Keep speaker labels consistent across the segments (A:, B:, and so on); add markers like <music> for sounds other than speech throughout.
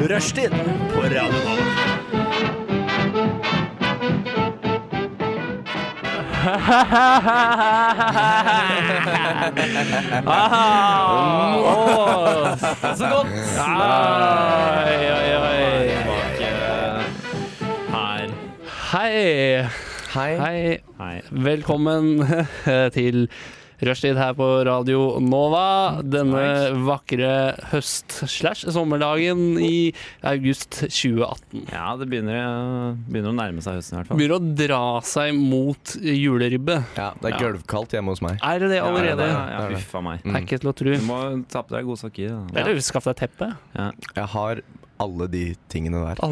A: Rushtid på Radio Nova.
B: Ah, åh, så godt! Oi, oi, oi.
C: eh, Her.
B: Hei.
A: Hei.
B: Hei. Velkommen <laughs> til Rushtid her på Radio Nova. Denne vakre høst-slash-sommerdagen i august 2018.
C: Ja, det begynner, eh, begynner å nærme seg høsten i hvert fall.
B: Begynner å dra seg mot juleribbe.
A: Ja, det er gulvkaldt hjemme hos meg.
B: Er det det
C: Ja, det
B: allerede?
C: er- ja,
A: Det er det.
C: uff a meg.
B: Det er ikke til å tro.
C: Du må ta på deg gode sokker. Da.
B: Eller skaff deg teppe.
A: Jeg har alle de tingene der.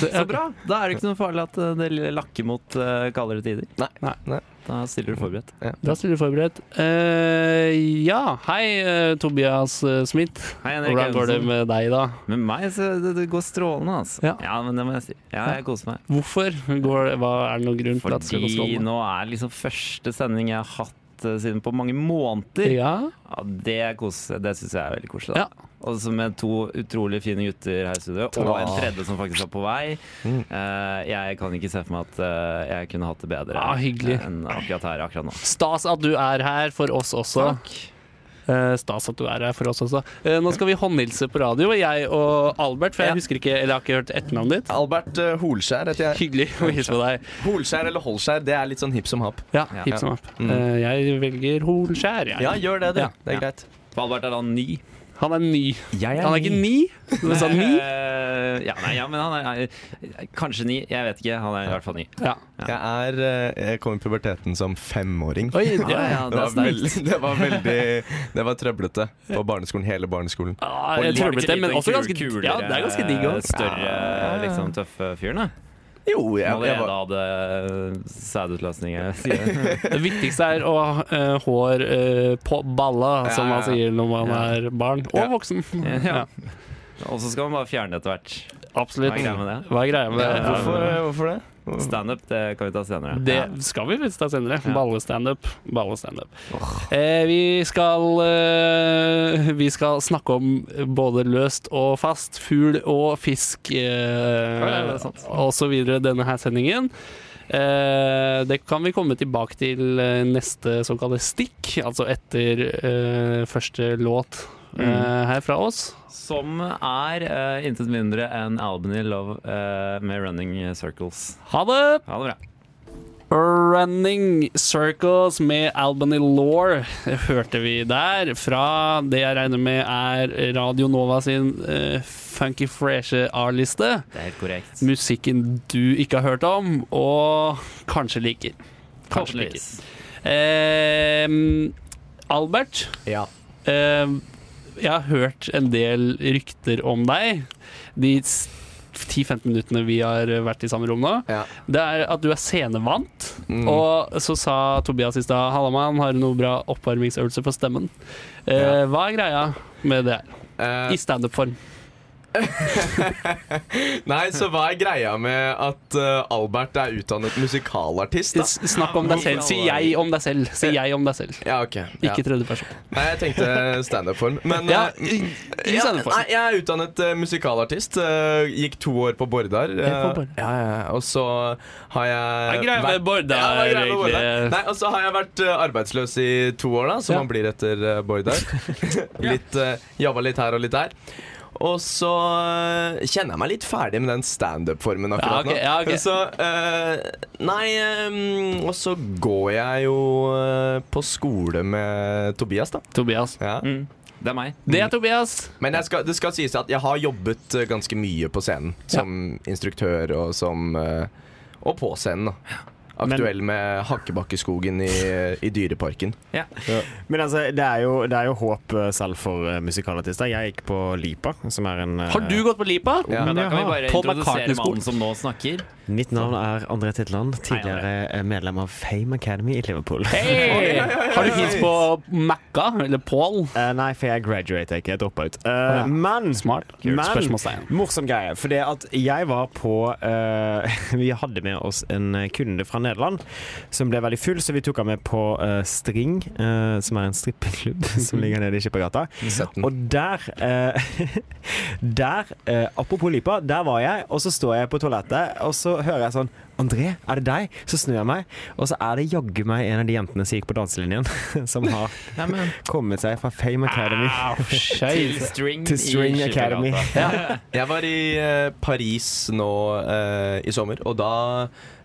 C: Så bra! Da er det ikke noe farlig at eh, det lakker mot eh, kaldere tider.
A: Nei. Nei.
C: Da stiller du forberedt.
B: Da stiller du forberedt. Eh, ja, hei, eh, Tobias eh, Smith.
C: Hei, Henrik
B: Hvordan går det
C: Evensen.
B: med deg, da?
C: Med meg så det, det går strålende, altså.
B: Ja.
C: Ja. men det må jeg si. Ja, jeg koser meg.
B: Hvorfor? Går, det- hva er det noen grunn til at det skal gå sånn?
C: Fordi
B: strålende?
C: nå er liksom første sending jeg har hatt eh, siden på mange måneder.
B: Ja,
C: Ja, det er kos- det syns jeg er veldig koselig.
B: Ja.
C: da. Og så med to utrolig fine gutter her i studio, og en tredje som faktisk er på vei.
A: Mm.
C: Eh, jeg kan ikke se for meg at eh, jeg kunne hatt det bedre
B: Ah, hyggelig.
C: enn akkurat her akkurat nå.
B: Stas at du er her for oss også. Eh, stas at du er her for oss også. Eh, nå skal vi håndhilse på radio, jeg og Albert. For jeg
A: Ja.
B: husker ikke, eller jeg har ikke hørt etternavnet ditt.
A: Albert eh, Holskjær heter jeg.
B: Hyggelig å hilse på deg.
A: Holskjær eller Holskjær, det er litt sånn hipp som happ.
B: Ja,
C: Ja.
B: hipp som happ.
A: Mm.
B: Eh, jeg velger Holskjær, jeg.
A: Ja, gjør det, du.
B: Ja.
A: Det er greit.
C: For Albert er da ny.
B: Han er ny.
A: Jeg
B: Han er ikke ni? Du
C: <laughs>
B: sa ni?
C: Eh, ja, nei, ja, men han er, er kanskje ni. Jeg vet ikke. Han er i hvert fall ni.
B: Ja.
A: Jeg, er, eh, jeg kom i puberteten som femåring. <laughs>
B: Oi,
C: Ja, ja,
B: ja.
C: det
A: var
C: er sterkt.
A: veldig- <laughs> det var veldig Det var trøblete på barneskolen. Hele barneskolen.
B: Ah,
C: Og
B: jeg
C: litt
B: tror det, men
C: den
B: også
C: kul-
B: ganske
C: kulere,
B: Ja, det er ganske digg òg.
C: Større, liksom, tøffe fyren, da.
A: Jo,
C: Som
A: jeg, jeg
C: allerede
A: var
C: hadde sædutløsning. jeg sier.
B: <laughs> Det viktigste er å ha eh, hår eh, på balla, som man
A: ja.
B: sier når man
C: Ja.
B: er barn og
A: Ja.
B: voksen.
C: Mm. Ja. <laughs> Og så skal man bare fjerne det etter hvert. Hva
B: Absolutt.
C: er greia med det?
B: Hva er greia med det?
A: Hvorfor, eh, hvorfor det?
C: Standup det kan vi ta senere.
B: Det skal vi visst ta senere.
C: Ja.
B: Ballestandup. Ballestandup. Eh, vi, skal, eh, vi skal snakke om både løst og fast, fugl og fisk
C: ja,
B: eh,
C: det er sant.
B: og så videre denne her sendingen. Eh, det kan vi komme tilbake til eh, neste såkalte stikk, altså etter eh, første låt eh,
C: Mm.
B: her fra oss.
C: Som er eh, intet mindre enn Albany Love eh, med Running Circles.
B: Ha det!
C: Ha det bra.
B: Running Circles med Albany Law hørte vi der, fra det jeg regner med er Radio Nova sin eh, funky freshe A-liste.
C: Det er helt korrekt.
B: Musikken du ikke har hørt om, og kanskje liker. Kanskje liker.
C: Forhåpentligvis.
B: Eh, Albert,
A: Ja.
B: eh, jeg har hørt en del rykter om deg de s- 10-15 minuttene vi har vært i samme rom nå.
A: ja.
B: Det er at du er scenevant.
A: Mm.
B: Og så sa Tobias i stad Hallamann har du noe bra oppvarmingsøvelse på stemmen. Eh,
A: Ja.
B: Hva er greia med det her?
A: Eh,
B: I standup-form.
A: Nei, så hva er greia med at eh, Albert er utdannet musikalartist, da?
B: S- Snakk om deg selv. Si jeg om deg selv. Si jeg om deg selv.
A: Ja, ok. Ja.
B: Ikke tredjeperson.
A: Nei, jeg tenkte standup-form. Men
B: Ja,
A: eh,
B: i i
A: ja, Nei,
B: standup-form.
A: jeg er utdannet eh, musikalartist. eh, gikk to år på Bordar. eh,
B: Ja, på Bordar.
A: ja, ja, ja, og så har jeg
B: Hva er greia med
A: vært-
B: Bård
A: Ja, hva er
B: der,
A: greia med Bård der?
B: egentlig?
A: Nei, og så har jeg vært eh, arbeidsløs i to år, da, som
B: Ja.
A: man blir etter eh,
B: <laughs>
A: Bordar. <laughs> litt uh, Jobba litt her og litt der. Og så eh, kjenner jeg meg litt ferdig med den standup-formen
B: Ja,
A: akkurat
B: ok, ja, ok.
A: nå. Så eh, Nei, eh, og så går jeg jo eh, på skole med Tobias, da.
B: Tobias.
A: Ja.
C: Mm. Det er meg.
B: Det er Tobias.
A: Men jeg skal, det skal sies at jeg har jobbet eh, ganske mye på scenen. Som instruktør og som eh, Og på scenen, da. Aktuell med Hakkebakkeskogen i, eh, i Dyreparken.
D: Men altså, det er, jo, det er jo håp eh, selv for eh, musikalartister. Jeg gikk på Lipa, som er en eh,
B: Har du gått på Lipa?
A: Ja.
C: Men da kan vi bare
B: Paul
C: introdusere
B: McCartney-skolen.
C: mannen som nå snakker.
D: Mitt navn er André Titland, tidligere eh, medlem av Fame Academy i Liverpool.
B: Hei! Har du hils på Macca? Eller Pål?
D: <laughs> Eh, nei, for jeg graduater ikke. Jeg droppa ut. Eh, Men
B: Smart. Kult.
D: Men
B: Spørsmålstegn.
D: morsom greie. For det at jeg var på eh, <laughs> Vi hadde med oss en eh, kunde fra Nederland som ble veldig full, så vi tok han med på eh, String, eh, som er en strippeklubb <laughs> som ligger nede i Skippergata.
A: Sett den.
D: Og der eh, <laughs> Der, eh, apropos lypa, der var jeg, og så står jeg på toalettet, og så hører jeg sånn André, er det deg? Så snur jeg meg, og så er det jaggu meg en av de jentene som gikk på danselinjen, <laughs> som har
C: Nei, men,
D: kommet seg fra Fame Academy.
B: Au,
C: til
B: skeis.
C: String,
D: Til String
C: i
D: Academy.
C: Skippergata. <laughs>
B: Ja.
A: Jeg var i eh, Paris nå eh, i sommer, og da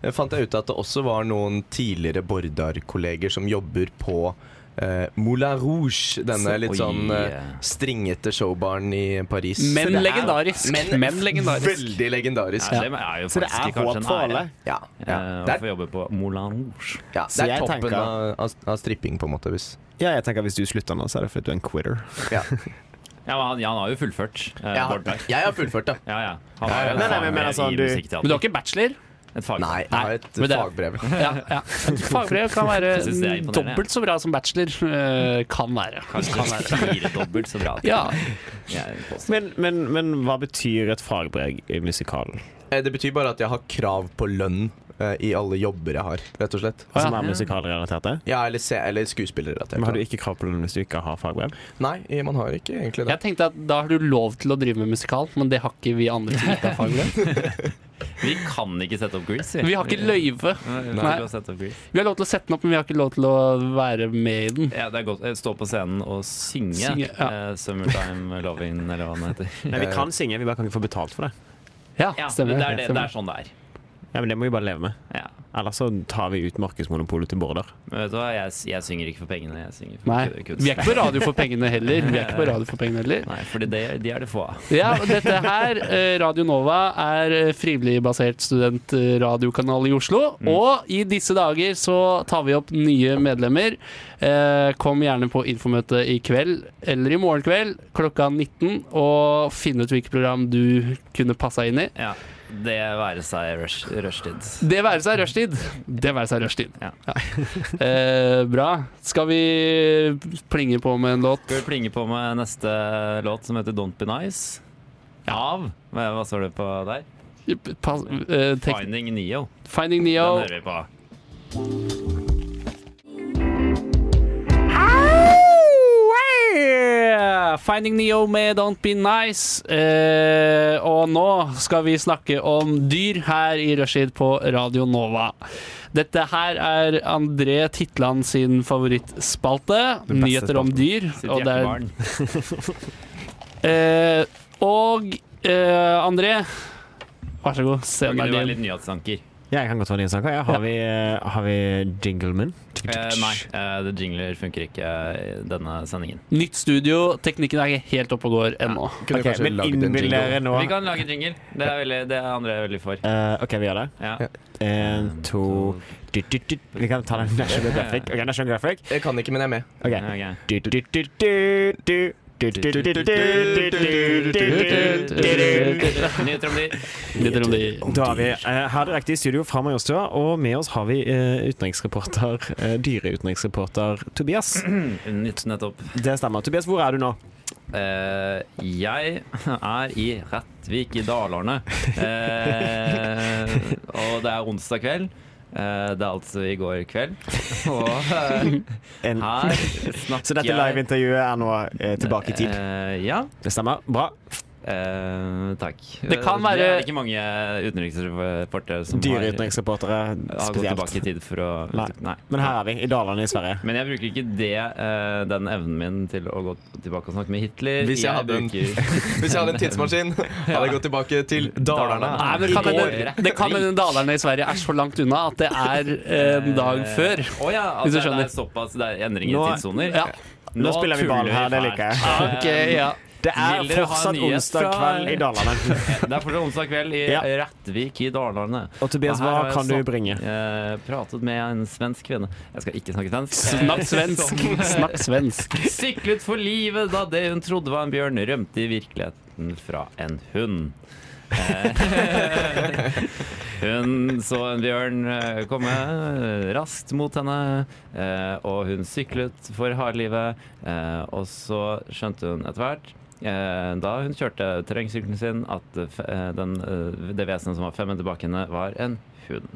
A: eh, fant jeg ut at det også var noen tidligere Bordar-kolleger som jobber på eh, Moulin Rouge, denne
C: Så-
A: litt
C: Oi.
A: sånn eh, stringete showbaren i Paris.
B: Men
A: Så det er
B: legendarisk.
A: Men,
B: Men legendarisk.
A: Veldig legendarisk.
C: Ja, det er jo
D: Så det
C: faktisk
D: er
C: kanskje
D: håp
C: en
D: for
C: ære.
D: alle.
A: Ja.
C: Ja,
B: Eh,
A: ja. Det
C: å
A: er,
C: få jobbe på Moulin Rouge.
A: ja,
D: Så
A: det er
D: jeg
A: toppen
D: tenker-
A: av, av, av stripping, på en måte. Hvis.
D: Ja, jeg tenker Hvis du slutter nå, så er det fordi du er en quitter.
A: <laughs> Ja.
C: Ja, men han, ja, han har jo fullført. eh,
A: Jeg, har,
C: Bård Berg.
A: jeg har fullført, da.
C: Ja, ja. Han har
A: Nei,
C: jo
A: nei,
C: fagbrev
D: men jeg mener sånn,
C: i
D: du-
C: musikkteater.
B: Men du har ikke bachelor?
C: Et fagbrev.
A: Nei, jeg har et
B: men det-
A: fagbrev.
B: Ja, ja. Fagbrev kan
C: Jeg synes det er
B: være
C: imponerende,
B: dobbelt så bra som bachelor. eh, Kan være. Kan
C: Kanskje
B: være.
C: firedobbelt så bra.
B: <laughs> Ja.
C: Jeg påstår.
D: Men, men, men hva betyr et fagbrev i musikalen?
A: Eh, Det betyr bare at jeg har krav på lønn eh, i alle jobber jeg har, rett og slett.
D: Som
B: ja.
D: er Altså, musikalrelaterte?
A: Ja, eller, se- eller skuespillerrelatert.
D: Men har
A: da.
D: du ikke krav på lønn hvis du ikke har fagbrev?
A: Nei, man har ikke egentlig det.
B: Jeg tenkte at da har du lov til å drive med musikal, men det har ikke vi andre som ikke har fagbrev.
C: Vi kan ikke sette opp Grease.
B: <laughs> Vi har ikke løyve.
C: Nei, vi
B: Nei.
C: skal sette opp Grease.
B: Vi har lov til å sette den opp, men vi har ikke lov til å være med i den.
C: Ja, det er godt. Eh, Stå på scenen og synge,
B: Synge, ja.
C: eh, 'Summertime Loving', eller hva den heter.
D: Nei, vi kan synge, vi bare kan ikke få betalt for det.
B: Ja,
C: Ja, men
B: stemmer.
C: det, er det, det er sånn det er.
D: Ja, men Det må vi bare leve med.
C: Ja.
D: Ellers så tar vi ut markedsmonopolet til Border.
C: Men vet du hva, jeg, jeg synger ikke for pengene, jeg synger for
B: Nei.
C: ku- kunsten.
B: Vi er ikke på radio for pengene heller. Vi er ikke på radio for pengene heller.
C: Nei, for det, de er det få av.
B: Ja, og dette her, eh, Radio Nova, er eh, frivillig basert studentradiokanal i Oslo.
C: Mm.
B: Og i disse dager så tar vi opp nye medlemmer. Eh, Kom gjerne på infomøte i kveld eller i morgen kveld klokka 19 og finn ut hvilket program du kunne passa inn i.
C: Ja. Det være seg rush- rushtid.
B: Det være seg rushtid. Det være seg rushtid.
C: Ja.
B: Eh, bra. Skal vi plinge på med en låt?
C: Skal vi plinge på med neste låt, som heter 'Don't Be Nice'? Av Hva hva står det på der?
B: Pass, eh, tek-
C: Finding Neo.
B: Finding
C: Den
B: Neo.
C: hører vi på.
B: Yeah! Finding Neo med Don't Be Nice. Eh, og nå skal vi snakke om dyr her i Rushtid på Radio Nova. Dette her er André Titland sin favorittspalte.
D: Den beste
B: Nyheter om
D: spalten.
B: dyr.
C: Sitt
B: Og, det er,
C: hjertebarn.
B: eh, og eh, André, vær så god.
C: Kan
B: Scenen
C: ikke du
B: er
C: være
B: din.
C: litt nyhetsanker?
D: Jeg kan godt være din sak. Ja, har, vi, eh, har vi jingleman?
C: Eh, nei, eh, det jingler funker ikke eh, i denne sendingen.
B: Nytt studio. Teknikken er ikke helt oppe og går ennå.
A: Kunne
D: Ok,
A: kanskje
D: men
A: lagd en
D: innbill
A: jingle.
D: dere nå
C: Vi kan lage jingle. Det er, veldig, det er André veldig for.
D: Eh, OK, vi gjør det.
C: Ja.
D: En, to
A: Mm.
D: du, du, du. Vi kan ta den National Graphic. Ok, National Graphic.
A: Jeg kan ikke, men jeg er med.
D: Ok.
C: Ok.
D: Du, du, du, du, du. Du, du, du, du, du, du, du, du, du, du.
C: Nyheter om dyr.
B: Nyheter om dyr.
D: Da er vi eh, her direkte i studio fra Majorstua, og med oss har vi eh, utenriksreporter, eh, dyreutenriksreporter Tobias.
C: Hmm, Nytt nettopp.
D: Det stemmer. Tobias, hvor er du nå?
C: Eh, jeg er i Rettvik i Dalarne. Eh, og det er onsdag kveld. Eh, det er altså i går kveld. Og eh,
D: En.
C: her snakker
D: <laughs> Så dette liveintervjuet er nå eh, tilbake i tid.
C: Eh, ja.
D: Det stemmer. Bra.
C: Eh, takk.
B: Det kan
C: Det
B: være-
C: er ikke mange utenriksreportere som har, har
D: Dyreutenriksreportere
C: gått
D: spesielt.
C: tilbake i tid for å
D: Nei.
C: Nei.
D: Men her er vi, i Dalarne i Sverige.
C: Men jeg bruker ikke det, eh, den evnen min til å gå tilbake og snakke med Hitler.
A: Hvis jeg hadde en-
D: <laughs>
C: bruker
A: Hvis jeg hadde en
B: <laughs>
A: tidsmaskin, hadde jeg gått tilbake til Dalarna.
B: Nei, men det kan hende- det kan hende dalerne i Sverige er så langt unna at det er en dag før.
C: eh, Å ja,
B: Hvis
C: altså,
B: du
C: det
B: skjønner.
C: er såpass det er endringer
D: Nå-
C: i tidssoner?
B: Ja.
D: Nå spiller vi ball her, det liker jeg.
B: <laughs> Ok,
C: eh,
B: ja.
D: Det er
C: Vil dere ha en
D: fortsatt
C: nyhet
D: onsdag
C: fra-
D: kveld i Dalarne.
C: Det er fortsatt onsdag kveld i
D: Ja.
C: Rettvik i Dalarne.
D: Og
C: <laughs>
D: Tobias,
C: Og her har
D: hva
C: jeg
D: kan du
C: snakk-
D: bringe?
C: eh, pratet med en svensk kvinne. Jeg skal ikke snakke svensk.
B: Snakk svensk.
C: <laughs> Som, eh,
B: Snakk svensk.
C: Siklet for livet da det hun trodde var en bjørn, rømte i virkeligheten. frykten fra en hund. Eh, <laughs> hun så en bjørn eh, komme eh, raskt mot henne, eh, og hun syklet for hardlivet. Eh, og så skjønte hun etter hvert, eh, da hun kjørte terrengsykkelen sin, at eh, f- eh, den, eh, det vesenet som var fem meter bak henne, var en hund.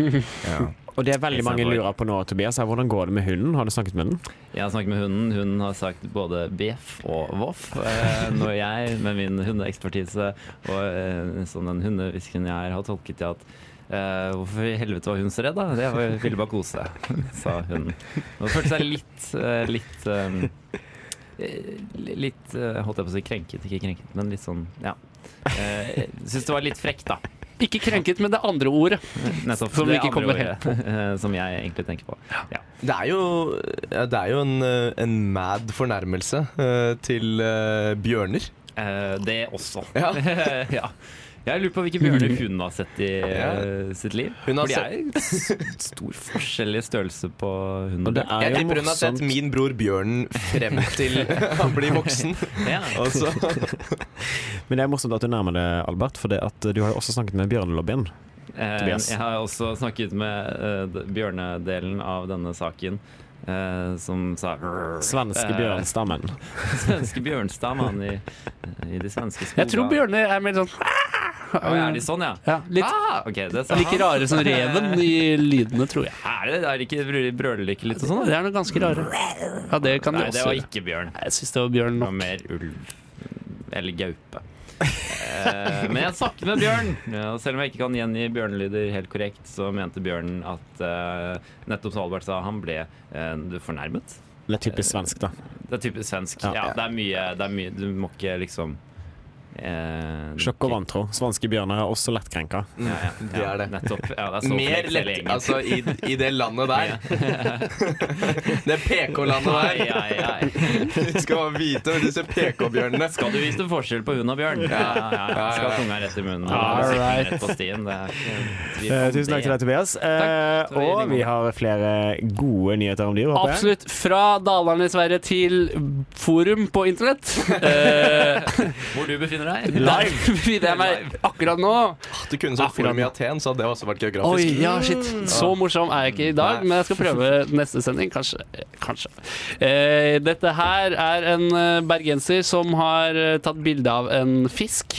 A: Ja.
D: Og det er veldig mange lurer på nå, Tobias. Er hvordan går det med hunden? Har du snakket med den?
C: Jeg har snakket med hunden. Hun har sagt både bjeff og voff. Eh, når jeg med min hundeekspertise og eh, sånn den hundehvisken jeg er, har tolket til at eh, Hvorfor i helvete var hun så redd, da? Det var, ville bare kose seg, <laughs> sa hun. Hun følte seg litt eh, litt eh, Litt eh, holdt jeg på å si krenket, ikke krenket, men litt sånn, ja. Eh, Syns det var litt frekt, da.
B: Ikke krenket, men det andre ordet.
C: Nettopp.
B: Som vi
C: det
B: ikke
C: andre
B: kommer helt
C: ordet, eh, Som jeg egentlig tenker på. Ja.
A: Det er jo, ja, det er jo en, eh, en mad fornærmelse eh, til eh, bjørner.
C: Eh, det også.
A: <laughs> Ja.
C: <laughs> ja. Jeg lurer på hvilke
B: Mm.
C: bjørner hun har sett i eh, sitt liv.
A: Hun har
C: For det er jo s- stor forskjell i størrelse på hund
D: Og
C: og
D: det
C: bjørn.
D: er
A: Jeg
D: jo
A: tipper hun har sett
D: morsomt.
A: min bror bjørnen frem
C: <laughs>
A: til han blir voksen.
C: Ja.
A: Og så
D: Men det er morsomt at du nærmer deg, Albert, for det at du har jo også snakket med bjørnelobbyen.
C: Eh,
D: Tobias.
C: jeg har også snakket med eh, d- bjørnedelen av denne saken, eh, som sa
D: Svenske
C: Eh,
D: bjørnstammen.
C: <laughs> Svenske bjørnstammen i, eh, i de svenske skoger.
B: Jeg tror bjørner er mer sånn
C: Er de sånn, ja?
B: ja, Litt
C: Ah, ok, det sa
B: like
C: han.
B: rare
C: <laughs>
B: som reven i lydene, tror jeg.
C: Er det, er det ikke brø- brølerlykke litt og sånn?
B: Det er noe ganske rare. Ja, det kan de
C: Nei, det
B: også
C: var
B: gjøre.
C: ikke bjørn.
B: Jeg syns det var bjørn
C: Det
B: nok.
C: var mer ulv. Eller gaupe. Eh, men jeg snakket med bjørn, og selv om jeg ikke kan gjengi bjørnelyder helt korrekt, så mente bjørnen at eh, nettopp som Albert sa, han ble eh, fornærmet.
D: Det er typisk svensk, da.
C: Det er typisk svensk.
D: Ja.
C: Ja, det er mye, det er mye Du må ikke liksom eh,
D: Sjokk og vantro. Svenske bjørner er også lettkrenka.
C: Ja, ja, ja,
A: Mm, Det er det.
C: Nettopp. Ja, det er så
A: Mer
C: kompleks hele
A: lett
C: gjengen.
A: Altså, i, i det landet der. <laughs> Det PK-landet
C: Ai,
A: der.
C: ai,
A: <laughs>
C: ai.
A: Du skal vite om disse PK-bjørnene.
C: Skal du vite forskjell på hund og bjørn? Ja, ja, ja. Skal ha tunga rett i munnen
B: All
C: og sikten
B: right.
C: rett på stien. Det er ikke tvil
D: Eh,
C: om
D: tusen
C: det.
D: takk til deg, Tobias. Eh,
C: Takk.
D: og vi har flere gode nyheter om dyr, håper jeg.
B: Absolutt. Fra Dalarne i Sverige til forum på internett.
C: <laughs>
B: Eh,
C: Hvor du befinner deg?
B: der <laughs> befinner jeg meg akkurat nå.
A: Du kunne sagt
B: Akkurat.
A: forum i Aten, så hadde det også vært
B: Oi,
A: geografisk.
B: ja, shit. Så morsom er jeg ikke i dag,
A: Nei.
B: men jeg skal prøve neste sending. Kanskje. eh, Kanskje. Eh, dette her er en eh, bergenser som har eh, tatt bilde av en fisk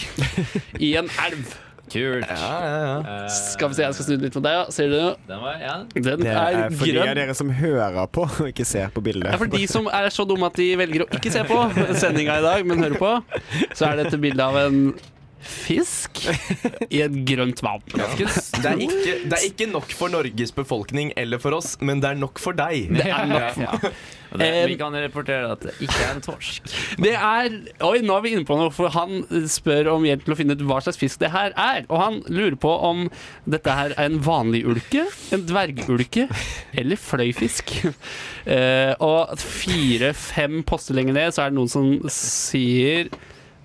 B: i en elv.
C: Kult.
A: Ja, ja, ja.
C: Eh,
B: Skal vi se, jeg skal snu den litt på deg. ja. Ser du?
C: Den var, ja.
B: Den
D: Det
B: er
D: er for de av
B: grønn.
D: dere som hører på og ikke ser på
B: Det er
D: bildet.
B: for de som er så dumme at de velger å ikke se på sendinga i dag, men hører på. Så er dette bildet av en fisk i et grønt vann.
A: Ganske s- Det er, ikke, det er ikke nok for Norges befolkning eller for oss, men det er nok for deg.
B: Det er nok for meg.
C: Og Det,
B: Eh,
C: vi kan rapportere at det ikke er en torsk.
B: Det er Oi, nå er vi inne på noe, for han spør om hjelp til å finne ut hva slags fisk det her er. Og han lurer på om dette her er en vanlig ulke, en dvergulke eller fløyfisk. Eh, og fire-fem poster lenger ned så er det noen som sier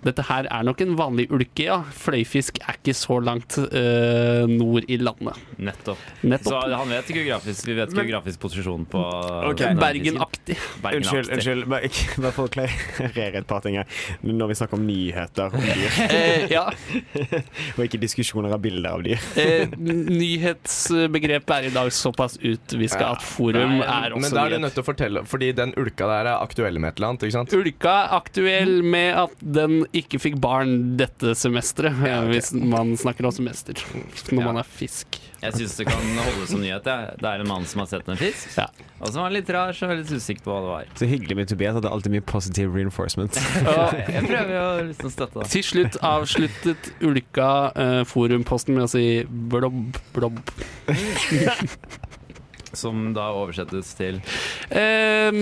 B: dette her er nok en vanlig ulke, ja. Fløyfisk er ikke så langt eh, nord i landet.
C: Nettopp. Så
B: Nettopp.
C: han vet geografisk, vi vet geografisk posisjon på
D: Ok.
C: denne fisken.
B: Bergenaktig.
C: Bergenaktig.
D: Unnskyld, unnskyld. Bare, ikke- bare for å klarere et par ting her. Når vi snakker om nyheter om dyr,
B: Eh, ja.
D: og ikke diskusjoner av bilder av dyr.
B: Eh, nyhetsbegrepet er i dag såpass utviska at forum er
A: Men
B: også
A: da er du
B: nyhet.
A: nødt til å fortelle, fordi den ulka der er aktuell med et eller annet, ikke sant?
B: Ulka er aktuell med at den ikke fikk barn dette semesteret,
A: Ja, ok.
B: hvis man snakker om semester når man er fisk.
C: Jeg syns det kan holde som nyhet. Jeg. Det er en mann som har sett en fisk,
B: Ja.
C: og som var litt rar, så var litt usikker på hva det var.
D: Så hyggelig med Tobias at det er alltid mye positive <laughs> reinforcement.
B: Og
C: Jeg prøver å liksom støtte det.
B: til slutt avsluttet Ulka eh, forumposten med å si blobb, blobb.
C: Som da oversettes til
B: Eh,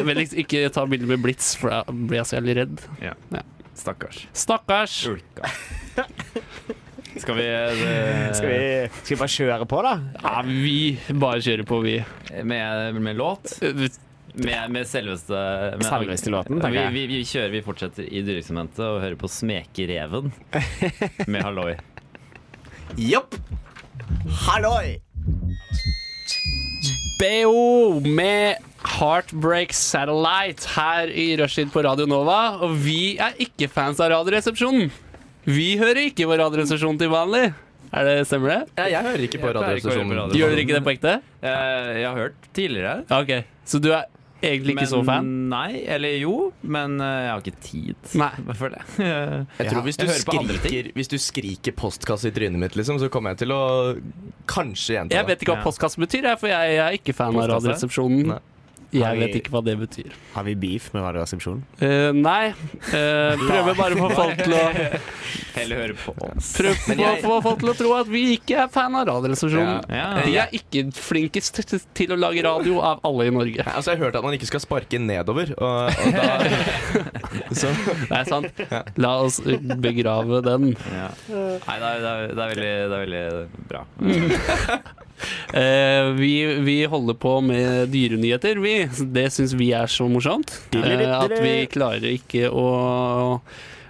B: Vennligst ikke ta bilde med blits, for da blir jeg så jævlig redd.
C: stakkars
B: Stakkars.
C: ulka. Skal vi, eh,
D: Skal vi, skal vi bare kjøre på, da?
B: Ja, vi bare kjører på, vi.
C: med, med låt?
B: Eh,
C: Med, med selveste med,
D: Selveste låten,
C: vi,
D: tenker jeg.
C: vi, vi kjører, vi fortsetter i dyreeksperimentet og hører på Smekereven med Halloi.
A: Jopp!
D: Halloi!
B: BO med Heartbreak Satellite her i Rushtid på Radio Nova. Og vi er ikke fans av Radioresepsjonen. Vi hører ikke på Radioresepsjonen til vanlig. Er det, stemmer det?
A: Jeg, jeg hører ikke på
C: Jeg pleier ikke å høre på
A: radiostasjonen.
C: radio.
B: Gjør dere ikke det på ekte?
C: Eh, jeg har hørt tidligere.
B: Ja, Ok, Så du er egentlig ikke så fan?
C: Nei, eller jo, men eh, jeg har ikke tid
B: Nei.
C: for det. Eh,
A: Jeg tror hvis du,
C: Jeg hører på andre
A: skriker, hvis du skriker postkasse i trynet mitt, liksom, så kommer jeg til å kanskje gjenta
B: Jeg
A: det.
B: vet ikke hva
C: Ja.
B: postkasse betyr, jeg, for jeg, jeg er ikke fan av
C: Postkasse?
B: Radioresepsjonen.
A: Nei.
B: Jeg
D: Har vi-
B: vet ikke hva det betyr.
D: Har vi beef med Radioresepsjonen?
B: Eh, nei. Eh, prøver bare å få folk til å
C: <laughs> Heller høre på oss.
B: Prøv
A: Men
B: på å
A: jeg-
B: få folk til å tro at vi ikke er fan av Radioresepsjonen.
C: Ja.
B: De er ikke flinkest til- til å lage radio av alle i Norge.
A: Nei, altså, jeg har hørt at man ikke skal sparke nedover, og, <laughs> og da så,
B: Det er sant. La oss begrave den.
C: Ja. Nei, det er, det, er, det, er veldig, det er veldig bra.
B: Eh, vi, vi holder på med dyrenyheter, vi. Det syns vi er så morsomt. Eh, at vi klarer ikke å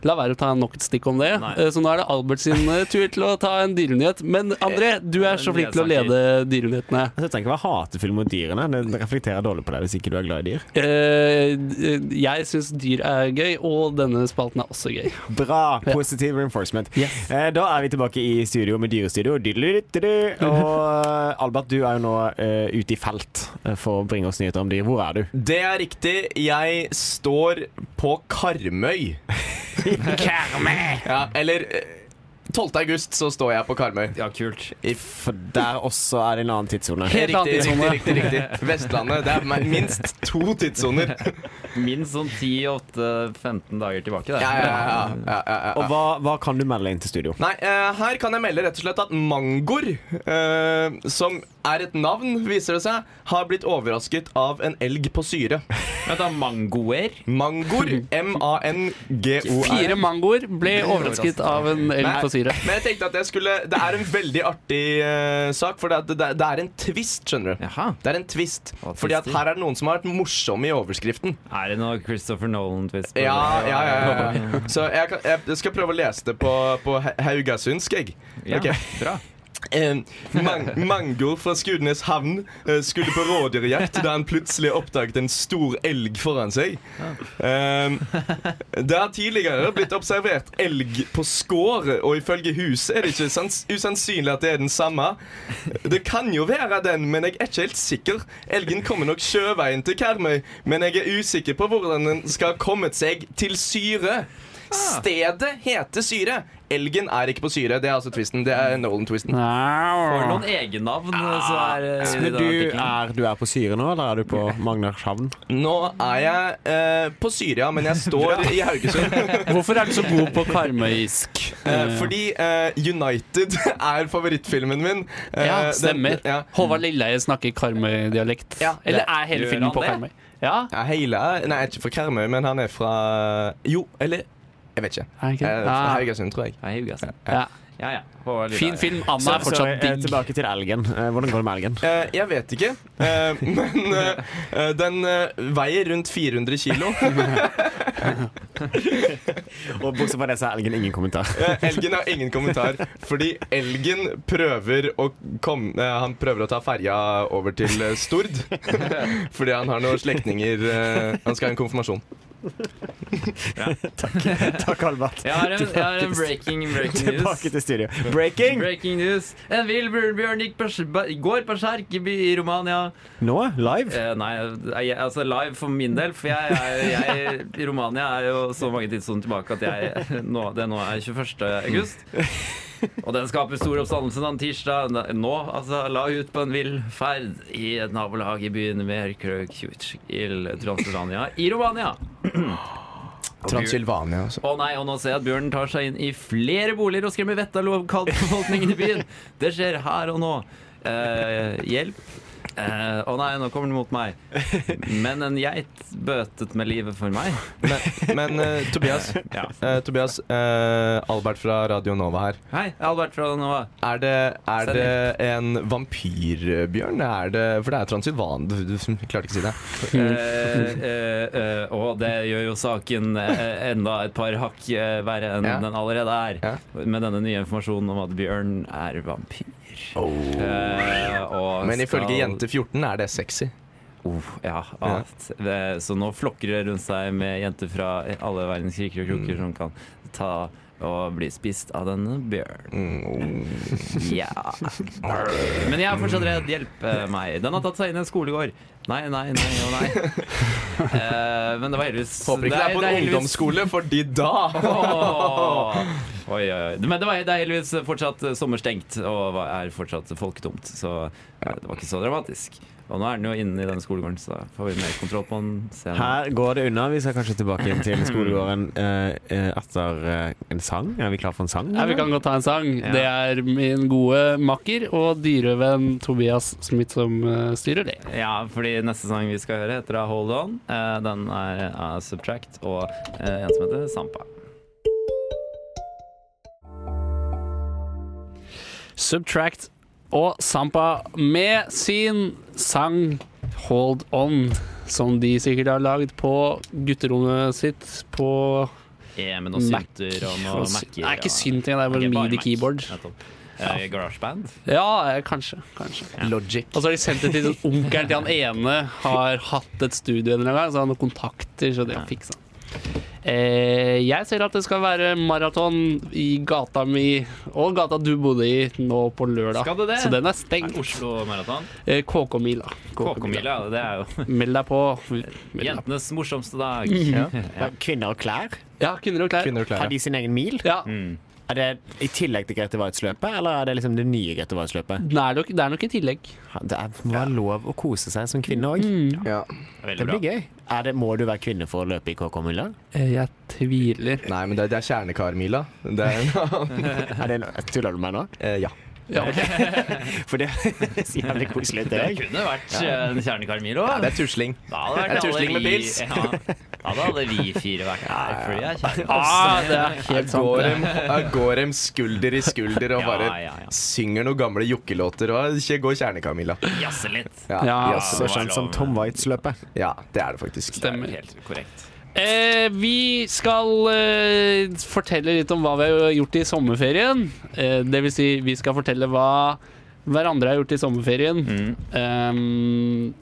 B: La være å ta nok et stikk om det.
C: Nei.
B: Eh, Så nå er det Albert sin eh, tur til å ta en dyrenyhet. Men André, du er så flink til å lede dyrenyhetene.
D: Altså, jeg trenger ikke være hatefull mot dyrene. Det reflekterer dårlig på deg hvis ikke du er glad i dyr.
B: Eh, Jeg syns dyr er gøy, og denne spalten er også gøy.
D: Bra! Positiv reinforcement.
B: Yes.
D: Eh, Da er vi tilbake i studio med Dyrestudio. Diddelididdeli. Og eh, Albert, du er jo nå eh, ute i felt eh, for å bringe oss nyheter om dyr. Hvor er du?
A: Det er riktig. Jeg står på Karmøy. Karmøy! <laughs> Ja, eller eh, 12. august så står jeg på Karmøy.
C: Ja, kult.
D: For der også er det en annen tidssone.
B: Helt annen
A: Riktig, riktig,
B: tidssone.
A: riktig, <laughs> riktig. Vestlandet. Det er me- minst to tidssoner.
C: Minst sånn 10-8-15 dager tilbake.
A: Ja,
C: Det.
A: ja, ja, ja, ja, ja.
D: Og hva, hva kan du melde inn til studio?
A: Nei, eh, her kan jeg melde rett og slett at Mangor, eh, som er et navn, viser det seg, har blitt overrasket av en elg på syre.
C: Vent, da. Mangoer?
A: Mangor. M-a-n-g-o-r.
B: Fire mangoer ble overrasket av en elg på syre.
A: Men jeg tenkte at jeg skulle Det er en veldig artig eh, sak, for det, er- det, er- det er en twist, skjønner du.
C: Jaha.
A: Det er en twist,
C: Hva
A: fordi at
C: twister?
A: her er det noen som har vært morsomme i overskriften.
C: Er det noe Christopher Nolan-twist? på
A: Ja,
C: det?
A: ja, ja, ja, ja. Så jeg, kan, jeg skal prøve å lese det på, på ha- haugasundsk, jeg.
C: <laughs> Ja,
A: <laughs> Ok.
C: Bra.
A: Eh, mang Mango fra Skudenes havn eh, skulle på rådyrjakt da han plutselig oppdaget en stor elg foran seg. Eh, det har tidligere blitt observert elg på skår, og ifølge huset er det ikke sans usannsynlig at det er den samme. Det kan jo være den, men jeg er ikke helt sikker. Elgen kommer nok sjøveien til Karmøy, men jeg er usikker på hvordan den skal ha kommet seg til Syre. Stedet heter Syre. Elgen er ikke på Syre. Det er altså twisten. Det er Nolan-twisten.
C: For noen egennavn så er eh, i
D: Men
C: denne
D: du
C: artikkelen.
D: er, du er på Syre nå, eller er du på Magnarshavn?
A: Nå er jeg eh, på Syria,
B: <laughs>
A: men jeg står i Haugesund.
B: Hvorfor er du så god på karmøysk?
A: Eh, fordi eh, United <laughs> er favorittfilmen min. Eh,
B: Ja,
A: den-
B: stemmer.
A: ja.
B: Håvard Lilleheie snakker Karmøy-dialekt.
A: Ja,
B: Eller
A: det-
B: er hele
C: gjør
B: filmen
C: han
B: på
C: det?
B: Karmøy? Ja,
A: Ja, Hele er- Nei, ikke fra Karmøy, men han er fra Jo, eller Jeg vet ikke.
B: er han ikke?
A: Eh, fra
B: Ah,
A: Haugesund, tror jeg.
C: Hei, Hugassen.
B: ja.
C: altså. Ja, ja. Håvard
B: Fin
C: Lilleheie.
B: film. Anna er
D: Sorry,
B: fortsatt
D: eh,
B: digg.
D: tilbake til elgen. Eh, Hvordan går det med elgen?
A: Eh, jeg vet ikke, eh, <laughs> men eh, eh, den eh, veier rundt 400 kilo.
D: Og bortsett fra det, så er elgen ingen kommentar.
A: Eh, elgen har ingen kommentar, fordi elgen prøver å komme eh, Han prøver å ta ferja over til eh, Stord, <laughs> fordi han har noen slektninger eh, Han skal ha en konfirmasjon.
D: <laughs> Takk, Albert.
C: Jeg har en, jeg har en breaking, breaking news.
D: Tilbake til studio. Breaking!
C: Breaking news. En vill bjørn gikk bers- ba- går berserk i by- i Romania.
D: Nå, live.
C: Eh, nei, jeg, altså live for min del, for jeg, er- jeg, i Romania er jo så mange tidssoner tilbake at jeg, nå, det nå er 21. august. Og den skaper stor oppstandelse den tirsdag. Nå altså, la ut på en vill ferd i et nabolag i byen Merkrøkjut i Transylvania i Romania.
A: Transylvania, altså.
C: Å nei, og nå ser jeg at bjørnen tar seg inn i flere boliger og skremmer vettet av lokalbefolkningen i byen. Det skjer her og nå. Eh, hjelp. Eh, Å nei, nå kommer den mot meg. Men en geit bøtet med livet for meg.
A: Men, men eh, Tobias,
C: Ja.
A: eh, Tobias eh, Albert fra Radio Nova her.
C: Hei, Albert fra Nova.
A: Er det, er det en vampyrbjørn? Er det, for det er Transylvan... Du, du klarte ikke å si det.
C: Eh, eh, eh, og det gjør jo saken eh, enda et par hakk eh, verre enn
A: Ja.
C: den allerede er.
A: Ja.
C: Med denne nye informasjonen om at bjørn er vampyr. Eh, og
A: Oh. Men ifølge
C: skal-
A: Jente14 er det sexy.
C: Oh, ja. Ah, det- Så nå flokker det rundt seg med jenter fra alle verdens kriker og
A: Mm.
C: kroker som kan ta og bli spist av denne
A: <laughs>
C: bjørnen.
A: Mm.
C: Ja. Men jeg er fortsatt redd. Hjelp eh, meg. Den har tatt seg inn i en skolegård. Nei, nei, nei og nei.
A: <laughs>
C: Eh, men det var heldigvis
A: Håper ikke det er på en
C: heldigvis-
A: ungdomsskole, fordi da
C: Åh. <laughs> Oi, oi, oi. Men det, var, det er heldigvis fortsatt eh, sommerstengt og var- er fortsatt folketomt, så eh, det var ikke så dramatisk. Og nå er den jo inne i den skolegården, så da får vi mer kontroll på den senere.
D: Her går det unna. Vi skal kanskje tilbake igjen <clears throat> til skolegården eh, eh, etter eh, en sang. Er vi klar for en sang?
B: Ja, vi kan godt ta en sang.
C: Ja.
B: Det er min gode makker og dyrevenn Tobias Smith som eh, styrer det.
C: Ja, fordi neste sang vi skal høre heter da Hold On. Eh, Den er av Subtract og eh, en som heter Sampa.
B: Subtract og Sampa med sin sang Hold On, som de sikkert har lagd på gutterommet sitt på
C: Eh, Med noen
B: Mac.
C: synter og noen
B: Nei,
C: Mac-er. og-
B: ikke synting, det Altså, er bare
C: Ok, bare
B: midi
C: Mac.
B: keyboard.
C: Nettopp. Eh, GarageBand.
B: Ja, eh, kanskje. kanskje.
A: Logic.
B: Og så har de sendt det til sånn onkelen til han ene har hatt et studio en eller annen gang, så han har noen kontakter, så det har fiksa. Eh, jeg ser at det skal være maraton i gata mi og gata du bodde i nå på lørdag.
C: Skal det det?
B: Så den er
C: Er det
B: stengt.
C: Oslo Maraton.
B: Eh, KK-mila.
C: KK-mila, det er jo
B: Meld deg på. Meld deg på.
C: jentenes morsomste dag.
B: Mhm.
D: Ja, Kvinner og klær?
B: Ja, kvinner og klær.
A: Kvinner og klær.
D: Har de sin egen mil? Mm.
B: Ja.
D: Er det i tillegg til Grete Waitz-løpet, eller er det liksom det nye Grete Waitz-løpet?
B: Det er, nok, det er nok i tillegg.
D: Det er, må være lov å kose seg som kvinne òg.
A: Ja.
C: Veldig
D: Det
C: bra.
D: blir gøy. Mm. Er det, må du være kvinne for å løpe i KK-mila?
B: Eh, jeg tviler.
A: Nei, men det, det er kjernekarmila. Det er <laughs> en annen
D: Er det en- Tuller du med meg nå?
A: eh, Ja.
C: <laughs>
B: Ja, altså, ok.
D: For det <laughs> høres jævlig koselig ut.
C: Det
D: det er gøy.
C: kunne vært eh, en kjernekarmilo.
B: Ah!
A: Det er tusling.
C: Da hadde
A: Det er tusling med
C: vi-
A: pils.
C: Ja, da hadde vi fire vært her, fordi jeg kjenner
B: Ah, det er
A: Her
B: helt sant.
A: går,
B: det.
A: dem, her går dem skulder i skulder
B: <laughs>
A: og
C: Ja,
A: bare
C: ja, ja.
A: synger noen gamle jokkelåter. Og ikke går kjernekarmila.
C: jazze litt.
A: Ja,
B: Ja.
A: yes.
D: Så kjent som Tom Waitz-løpet.
A: ja, det er det faktisk.
B: Stemmer.
C: Helt korrekt.
B: Eh, vi skal eh, fortelle litt om hva vi har gjort i sommerferien. Eh, det vil si, vi skal fortelle hva hverandre har gjort i sommerferien.
C: Mm.
B: Ehm,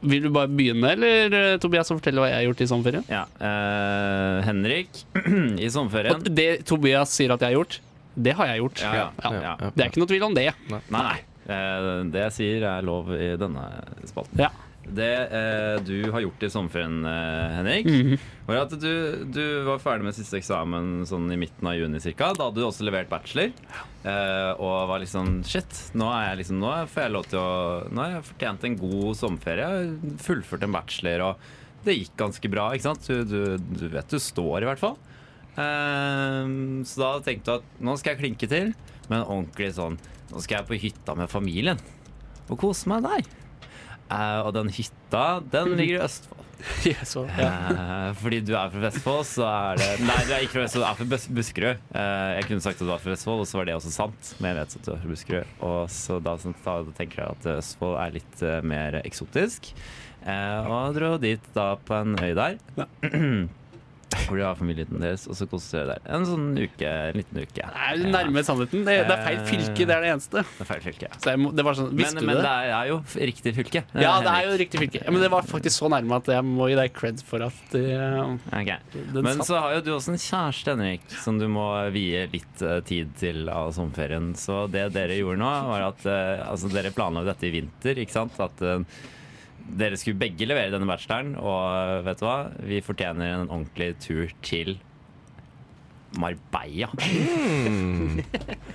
B: vil du bare begynne, eller eh, Tobias, å fortelle hva jeg har gjort i sommerferien?
C: Ja, eh, Henrik, <clears throat> i sommerferien
B: Og det Tobias sier at jeg har gjort, det har jeg gjort.
C: ja, ja,
A: Ja,
C: ja.
A: ja.
B: Det er ikke noe tvil om det.
C: Nei, nei. Eh, det jeg sier, er lov i denne spalten. <laughs>
B: Ja.
C: Det eh, du har gjort i sommerferien, eh, Henrik, var at du, du var ferdig med siste eksamen sånn i midten av juni ca. Da hadde du også levert bachelor. eh, og var liksom Shit, nå er jeg liksom Nå får jeg lov til å Nå har jeg fortjent en god sommerferie. Jeg har fullført en bachelor, og det gikk ganske bra, ikke sant? Du, du, du vet du står, i hvert fall. Eh, så da tenkte du at nå skal jeg klinke til, men ordentlig sånn Nå skal jeg på hytta med familien og kose meg der. Eh, og den hytta, den ligger i Østfold.
B: Ja, så, Mhm. ja.
C: Eh, fordi du er fra Vestfold, så er det Nei, du er ikke fra Vestfold, du er fra Bus- Buskerud. Eh, jeg kunne sagt at du var fra Vestfold, og så var det også sant. Men jeg vet at du er fra Buskerud. Og så da, da tenker jeg at Østfold er litt eh, mer eksotisk. Eh, og dro dit da på en øy der. <clears throat> Hvor de har familien deres, og så koser dere der. En sånn uke, en liten uke.
B: Det er nærme sannheten. Det, det er feil fylke, det er det eneste.
C: Det er feil fylke.
B: Så jeg må, det var sånn,
C: Men,
B: Visste
C: men
B: du
C: det
B: det?
C: er jo riktig fylke.
B: Ja, det er jo riktig fylke. Ja, Men det var faktisk så nærme at jeg må gi deg cred for at eh,
C: Ok.
B: den
C: Men
B: satt.
C: så har jo du også en kjæreste, Henrik, som du må vie litt eh, tid til av sommerferien. Så det dere gjorde nå, var at eh, altså, dere planla jo dette i vinter, ikke sant? At eh, dere skulle begge levere denne bacheloren, og eh, vet du hva? Vi fortjener en ordentlig tur til Marbella. <laughs>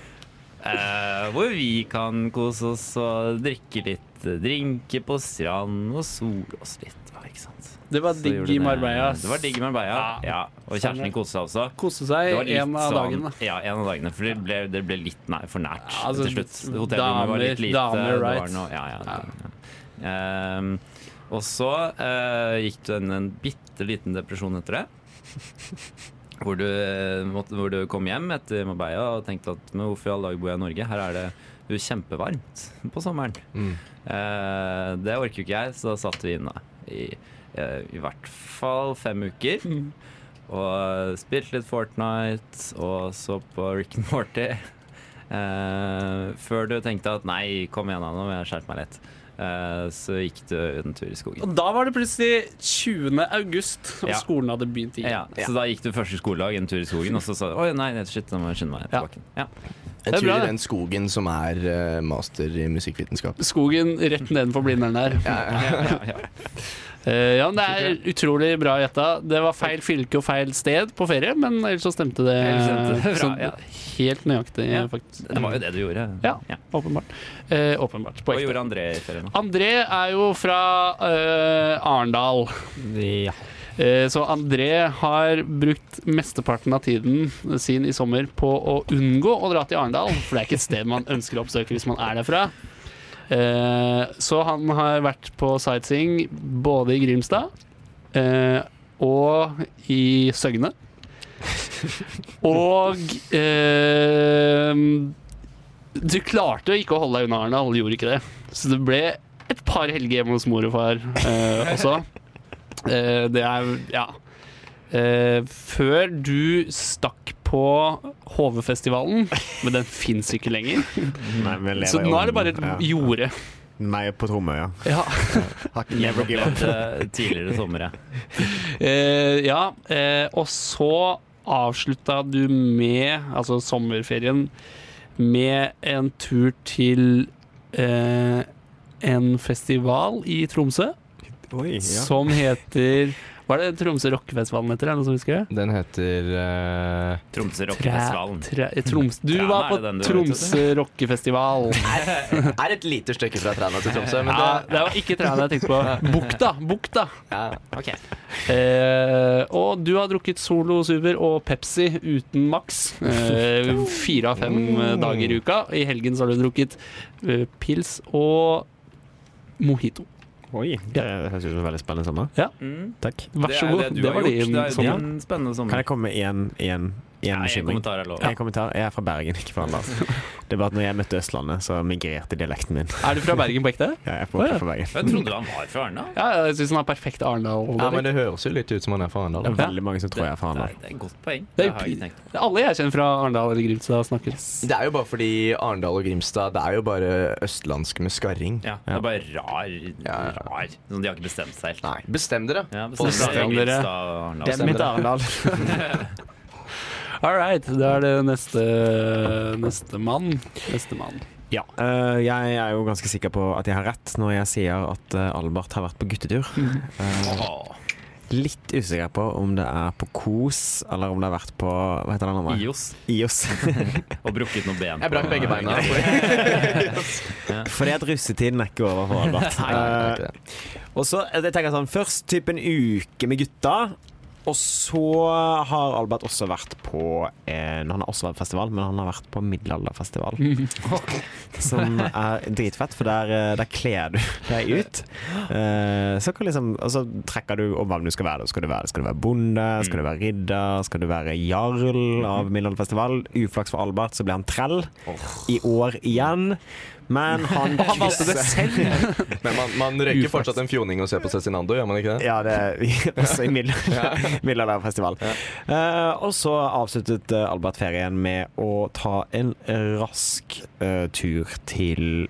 C: Eh, hvor vi kan kose oss og drikke litt eh, drinker på strand og sole oss litt. da, Ikke sant?
B: Det var
C: Så gjorde
B: digg i
C: det-
B: Marbella. ass.
C: Det var digg i Marbella, ja. Og kjæresten din koste seg også.
B: Kose
C: Det
B: seg
C: var litt
B: en av
C: sånn-
B: dagene.
C: Ja, en av dagene. For det ble, det ble litt nær, for nært
B: Ja, altså,
C: til slutt. Hotellrommet var litt
B: damer-
C: lite.
B: damer,
C: det var
B: right.
C: noe- ja, ja, ja. Ehm, og så eh, gikk du en, en bitte liten depresjon etter det. Hvor du, eh, måtte, hvor du kom hjem etter Marbella og tenkte at men hvorfor i all dag bor jeg i Norge? Her er det jo kjempevarmt på sommeren. Eh, det orker jo ikke jeg, så da satt vi inne i, eh, i hvert fall fem uker. Og spilte litt Fortnite og så på Rick and Morty. Eh, før du tenkte at nei, kom igjen, da, nå må jeg skjerpe meg litt. eh, så gikk det en tur i skogen.
B: Og da var det plutselig 20. august, og
C: Ja.
B: skolen hadde begynt igjen.
C: Ja, så da gikk du første skoledag en tur i skogen, og så sa du oi, nei, shit, da må jeg skynde meg
B: Ja.
C: tilbake. Ja.
B: Det
A: En
B: er
A: tur
B: bra,
A: i
B: det.
A: den skogen som er eh, master i musikkvitenskap.
B: Skogen rett nedenfor Blindern der.
C: Ja, ja, ja.
B: Eh, ja, men Det er utrolig bra gjetta. Det var feil fylke og feil sted på ferie, men ellers så stemte det,
C: Ellers stemte det bra,
B: sånn
C: ja.
B: helt nøyaktig,
C: Ja. <laughs>
B: faktisk.
C: Det var jo det du gjorde.
B: Ja. Åpenbart. Eh, åpenbart. På
C: Hva
B: ekte.
C: gjorde André i ferien? da?
B: André er jo fra eh, Arendal.
D: Ja.
B: Eh, Så André har brukt mesteparten av tiden sin i sommer på å unngå å dra til Arendal, for det er ikke et sted man ønsker å oppsøke hvis man er derfra. Eh, Så han har vært på sightseeing både i Grimstad eh, og i Søgne. Og eh, du klarte jo ikke å holde deg unna Arendal, du gjorde ikke det. Så det ble et par helger hjemme hos mor og far eh, også. Eh, det er ja. Eh, før du stakk på HV-festivalen, men den fins ikke lenger.
E: Nei, vi lever
B: Så
E: jo
B: nå er det bare et
E: ja.
B: jorde.
E: Nei på Tromøya.
B: Ja,
E: Har ikke never give up.
C: Eh, Tidligere sommer, ja.
B: eh, ja. Eh, og så avslutta du med, altså sommerferien, med en tur til eh, en festival i Tromsø
D: Oi, ja.
B: som heter Hva er det Tromsø rockefestivalen heter? Er det noen som husker det?
A: Den heter eh,
C: Tromsø
B: Tre,
C: rockefestivalen.
B: tre, Troms, du
C: Træna
B: var
C: er det den du var
B: på
C: ute
B: Tromsø rockefestival.
A: Er et lite stykke fra Træna til Tromsø, men
B: Ja,
A: det
B: det var ikke Træna jeg tenkte på. Bukta! Bukta.
A: ja.
B: Eh, og du har drukket Solo Super og Pepsi uten maks. Eh, fire av fem eh, dager i uka. I helgen så har du drukket eh, pils og mojito.
D: Oi. Det høres ut som en veldig spennende sommer.
C: Mm.
D: Takk.
B: Vær så god. Det, var
C: Det
B: din
C: er jo
B: sommer.
C: din spennende
D: Kan
C: sommer.
D: jeg komme med én bekymring?
C: kommentar er lov.
D: En kommentar. Jeg er fra Bergen, ikke fra Arendal. Det var at når jeg møtte Østlandet, så migrerte dialekten min.
B: Er du fra Bergen på ekte?
D: Jeg er på,
B: Å, ja.
D: fra Bergen.
C: Jeg trodde han var fra Arendal.
B: Ja, jeg syns han har perfekt arendal
A: ja, men det høres jo litt ut som han er fra
D: Det er
A: Arendal. da.
D: veldig mange som tror jeg er fra
C: Det
D: Arendal.
C: er- det er et godt poeng.
B: Det er
C: Det har jeg
B: pi-
C: ikke tenkt på.
B: Alle jeg kjenner fra Arendal eller Grimstad, snakker.
A: Det er jo bare fordi Arendal og Grimstad Det er jo bare østlandsk med skarring.
C: Ja, det er bare rar.
A: ja.
C: rar. Sånn, de har ikke bestemt seg helt.
A: Nei, bestem dere.
C: Ja,
A: Og
C: bestemt seg.
B: stemmer.
C: Grimstad og Arendal.
A: Det er mitt
D: Arendal.
B: <laughs> All right, da er det neste neste mann. Neste mann.
D: Ja. eh, jeg er jo ganske sikker på at jeg har rett når jeg sier at eh, Albert har vært på guttetur. Eh,
C: Åh,
D: litt usikker på om det er på Kos, eller om det har vært på Hva heter det andre?
C: IOS.
A: <laughs>
D: IOS.
C: Og brukket noen ben.
A: Jeg brakk
C: på-
A: begge beina.
D: Fordi at russetiden er ikke over for Albert.
A: <laughs> Nei, det er
D: Eh,
A: ikke det.
D: Og så jeg tenker jeg sånn, Først typ en uke med gutta. Og så har Albert også vært på en, Han har også vært på festival, men han har vært på
B: <laughs>
D: middelalderfestival. Som er dritfett, for der, eh, der kler du <laughs> deg ut. Eh, så kan liksom, og så trekker du om hvem du skal være. Skal du være, skal du være bonde? Skal du være ridder? Skal du være jarl av middelalderfestival? Uflaks for Albert, så ble han trell i år igjen. Men han
B: <laughs> Han valgte det selv!
A: <laughs> Men man, man røyker fortsatt en fjoning og ser på Cezinando, gjør man ikke det?
D: Ja, det er også i <laughs> middel- middelalderfestival. Eh, og så avsluttet eh, Albert ferien med å ta en rask eh, tur til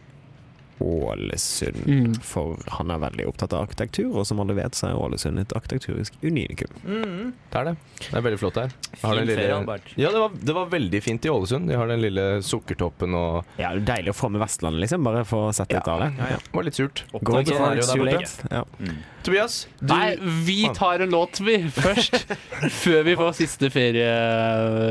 D: Ålesund.
B: Mm.
D: For han er veldig opptatt av arkitektur, og som alle vet, så er Ålesund et arkitekturisk unikum.
A: Det er det. Det er veldig flott her. Har
C: Fin
A: den
C: ferie,
A: lille...
C: Albert.
A: Ja, det var, det var veldig fint i Ålesund. De har den lille sukkertoppen og
D: Ja, det er Deilig å få med Vestlandet, liksom. Bare få sett litt av det. Ja.
A: Det var litt surt.
D: Go
A: Sånn er
D: before
A: det
D: it's
A: jo der
D: too
A: borte.
D: late. Ja.
C: Mm.
A: Tobias, du
B: Nei, vi tar en låt, vi, <laughs> først. Før vi får siste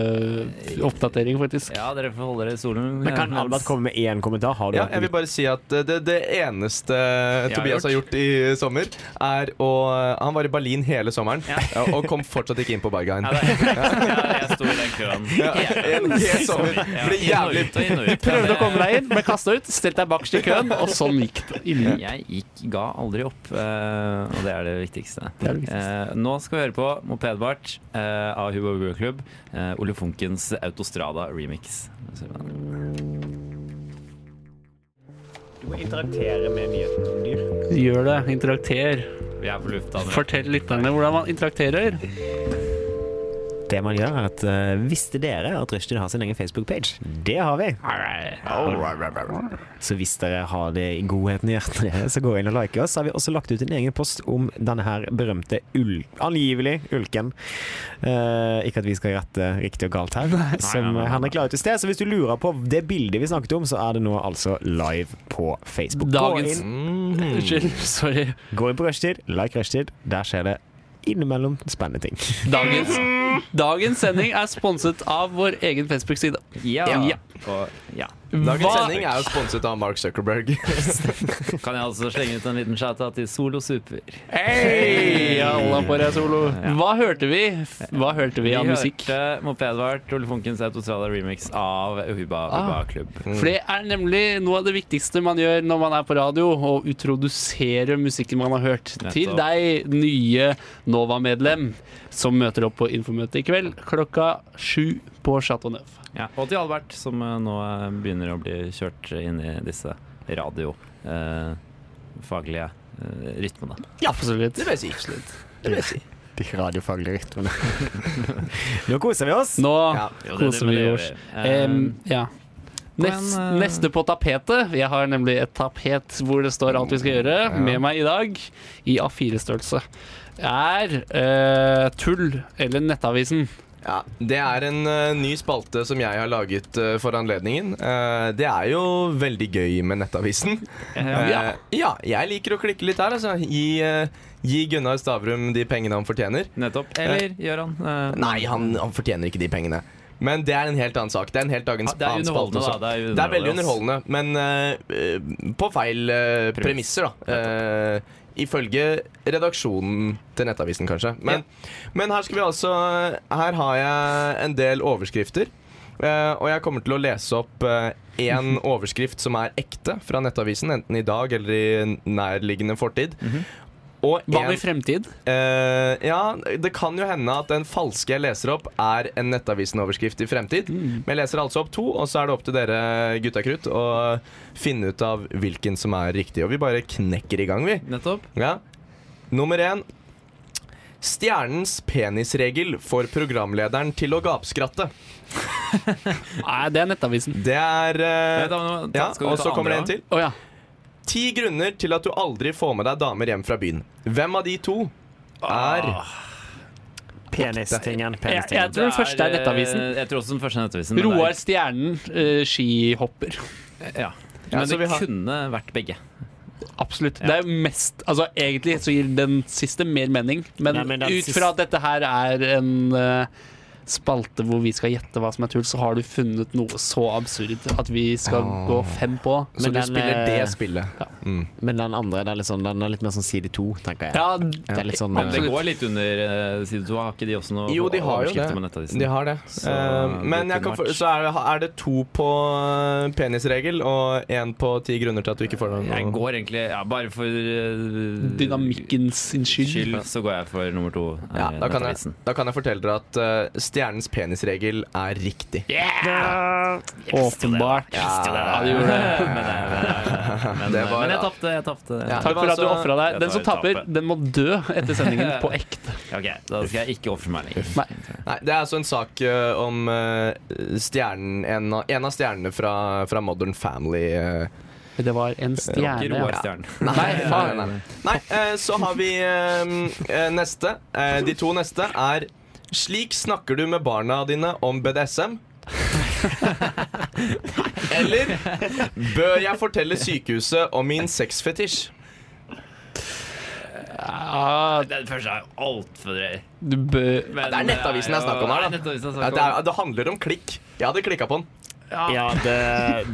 B: ferieoppdatering, faktisk.
C: Ja, dere får holde dere i solen.
D: Men kan
C: mens-
D: Albert komme med én kommentar? Har du
A: Ja, jeg vil bare si at eh, det, det eneste eh,
C: har
A: Tobias har gjort i eh, sommer, er å eh, Han var i Berlin hele sommeren og- <laughs> og kom fortsatt ikke inn på Berghain.
C: Ja, det er- ja, <laughs> jeg sto i den køen.
A: Ja, en hel sommer.
C: Ja,
A: Ble
C: inn og
A: jævlig
C: ut og inn og ut.
B: Prøvde å komme deg inn, ble kasta ut, stelte deg bakerst i køen, og sånn gikk det. Ille.
C: Jeg gikk, ga aldri opp, eh, og det er det viktigste.
B: Det er det viktigste.
C: Eh, nå skal vi høre på Mopedbart eh, av Hugo Hugo Klubb. eh, Ole Funkens Autostrada remix.
D: Du må interaktere med nyheten om dyr.
B: Gjør det. Interakter.
C: Vi er på lufta nå.
B: Hmm. Fortell lytterne hvordan man interakterer.
D: Det man gjør er at eh, Visste dere at Rushdie har sin egen Facebook-page? Det har vi! Så hvis dere har det i godheten i hjertet deres, så gå inn og like oss. Så har vi også lagt ut en egen post om denne her berømte ul angivelig ulken. Eh, ikke at vi skal rette riktig og galt her, som
C: nei, nei, nei.
D: Henrik la ut i sted. Så hvis du lurer på det bildet vi snakket om, så er det nå altså live på Facebook.
B: Dagens-
D: Gå,
A: Mhm.
B: Unnskyld, sorry.
D: inn, gå inn på rushtid, like rushtid. Der skjer det innimellom spennende ting.
B: Dagens, dagens sending er sponset av vår egen Facebook-side.
C: Ja.
B: Ja.
C: Og ja.
A: Dagens
B: Hva-
A: sending er jo sponset av Mark <laughs> Zuckerberg.
C: Kan jeg også slenge ut en liten chata til Solo Super?
B: Hei, alla på deg, Solo. Hva hørte vi? Hva hørte vi av musikk?
C: hørte Mopedvart, Ole Funkens Autostrada remix av Huba Huba
B: Ah.
C: Klubb.
B: For
A: Mm.
B: det er nemlig noe av det viktigste man gjør når man er på radio, å utrodusere musikken man har hørt, til
C: Nettopp.
B: deg, nye Nova-medlem, som møter opp på Infomøtet i kveld klokka sju på Chateau Neuf.
C: Ja. Og til Albert, som eh, nå eh, begynner å bli kjørt inn i disse radiofaglige eh, rytmene.
B: Absolutt.
D: <laughs>
E: De radiofaglige rytmene.
D: Nå koser vi oss!
B: Nå
A: Ja,
B: koser vi oss. Em, ja.
C: på en,
B: Nest,
C: eh,
B: neste på tapetet. Jeg har nemlig et tapet hvor det står alt vi skal gjøre, med meg i dag, i A4-størrelse, er eh, Tull eller Nettavisen.
A: Ja, Det er en eh, ny spalte som jeg har laget eh, for anledningen. Eh, det er jo veldig gøy med Nettavisen. Eh,
B: Ja.
A: ja, jeg liker å klikke litt her, altså. Gi, eh, gi Gunnar Stavrum de pengene han fortjener.
C: Nettopp. Eller gjør han eh,
A: Nei, han, han fortjener ikke de pengene. Men det er en helt annen sak. Det er en helt annen,
C: Ja, det er
A: annen
C: underholdende,
A: spalte også.
C: da. Det er,
A: Det er veldig underholdende, men eh, eh, på feil eh,
C: Premiss.
A: premisser, da. Eh, ifølge redaksjonen til Nettavisen, kanskje. Men, men her skal vi altså Her har jeg en del overskrifter. eh, og jeg kommer til å lese opp
B: <laughs>
A: én overskrift som er ekte fra Nettavisen, enten i dag eller i nærliggende fortid. Og
B: Mhm. Hva
A: en-
B: med fremtid?
A: Eh, ja, det kan jo hende at den falske jeg leser opp, er en Nettavisen-overskrift i fremtid.
C: Mm.
A: Men jeg leser altså opp to, og så er det opp til dere gutta krutt å finne ut av hvilken som er riktig. Og vi bare knekker i gang, vi.
C: Nettopp.
A: Ja. Nummer én. Stjernens penisregel får programlederen til å gapskratte.
B: Nei, det er Nettavisen.
A: Det er eh,
C: Nei, da, nå,
A: Ja,
C: skal vi
A: og
C: ta
A: så kommer det
C: andre,
A: en til.
B: Å ja.
A: Ti grunner til at du aldri får med deg damer hjem fra byen. Hvem av de to
C: Ah,
A: er
D: Penistingen,
B: Jeg, jeg
D: penistingen.
B: tror den første er
C: eh,
B: Nettavisen.
C: Jeg tror også den første er Nettavisen. men
B: Roar
C: det
B: Stjernen, eh, skihopper.
C: er- Ja.
A: Ja,
C: Men
A: så vi
C: det
A: har-
C: kunne vært begge.
B: Absolutt. Det er jo mest Altså, egentlig så gir den siste mer mening, men,
D: Nei, men den
B: ut
D: siste-
B: fra at dette her er en eh, spalte hvor vi skal gjette hva som er tull, så har du funnet noe så absurd at vi skal gå fem på.
A: Så du
D: Men den,
A: spiller
D: eh,
A: det spillet. Mm.
D: Men den andre det er litt, sånn, den er litt mer sånn side to, tenker jeg.
B: Ja,
D: Det er litt sånn,
C: Men det
B: Absolutt.
C: går litt under eh, side to. Har ikke de også noe
A: Jo, de har jo
C: overskrifter
A: det.
C: med Nettavisen?
A: De har det.
C: Så
A: Eh, men
C: det
A: jeg kan
C: kunne
A: for,
C: vært-
A: så er det, er det to på eh, penisregel og én på ti grunner til at du ikke får deg
C: Jeg
A: noe.
C: går egentlig ja, Bare for eh,
B: Dynamikken sin skyld.
C: skyld, så går jeg for nummer to. eh,
A: Ja, da, kan jeg,
C: Nettavisen.
A: da kan jeg fortelle dere at eh, stjernens penisregel er riktig.
B: Åpenbart. Ja, du gjorde det. <laughs>
A: <laughs>
C: Men,
A: Det
C: eh,
A: var-
C: men jeg tapte. Jeg tapte.
A: Ja.
B: Takk for at du
A: Altså,
B: ofra deg.
C: jeg
B: Den som
C: tar et
B: taper,
C: tape.
B: den må dø etter sendingen på ekte.
C: Ok, da skal jeg ikke ofre meg lenger.
B: Nei.
A: Nei, det er altså en sak eh, om eh, stjernen en, av- en av stjernene fra, fra Modern Family. eh.
B: Det var en
C: Ikke
B: stjerne.
C: Roar
B: ja.
C: Stjern.
B: Nei, faen.
A: <laughs> nei, nei. Nei, eh, så har vi eh, eh, neste. Eh, de to neste er Slik snakker du med barna dine om
B: <laughs>
A: BDSM. Eller bør jeg fortelle sykehuset om min sexfetisj?
B: Ja,
C: Den første er jo altfor drøy.
B: du bør
C: Men eh,
A: det er Nettavisen jeg snakker om her, da.
C: Det er Nettavisen jeg
A: Ja,
C: snakker
A: det, er,
C: om.
A: det handler om klikk. Jeg hadde klikka på den.
D: Ja, det,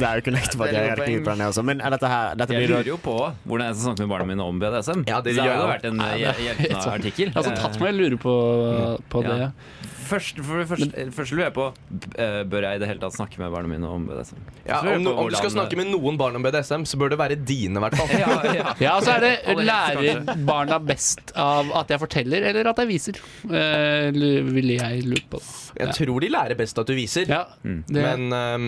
D: det er jo ikke nekt for at
C: Det er litt
D: jeg hadde
C: poeng.
D: knipa den ned også. Men er dette her dette
C: Jeg
D: blir
C: lurer jo på hvordan jeg skal snakke med barna mine om BDSM.
A: Ja, det
C: Så
A: gjør
C: har
A: jeg
C: vært en eh,
B: helt
A: <laughs>
C: hjelpende
B: sant.
C: artikkel.
B: Altså, tatt meg, jeg lurer på, på
C: Ja.
B: det.
C: Først, for det første, først lurer jeg på eh, Bør jeg i det hele tatt snakke med barna mine om BDSM. Så
A: Ja,
C: lurer jeg
A: om,
C: på
A: no, om du skal
C: hvordan-
A: snakke med noen barn om BDSM, så bør det være dine, i hvert fall.
C: <laughs> ja, ja.
B: Ja, og så er det eh,
C: Aller helst,
B: lærer barna best av at jeg forteller, eller at jeg viser. Eh, lu- ville jeg lurt på.
A: Jeg tror de lærer best at du viser.
B: Ja, det,
A: Men ehm,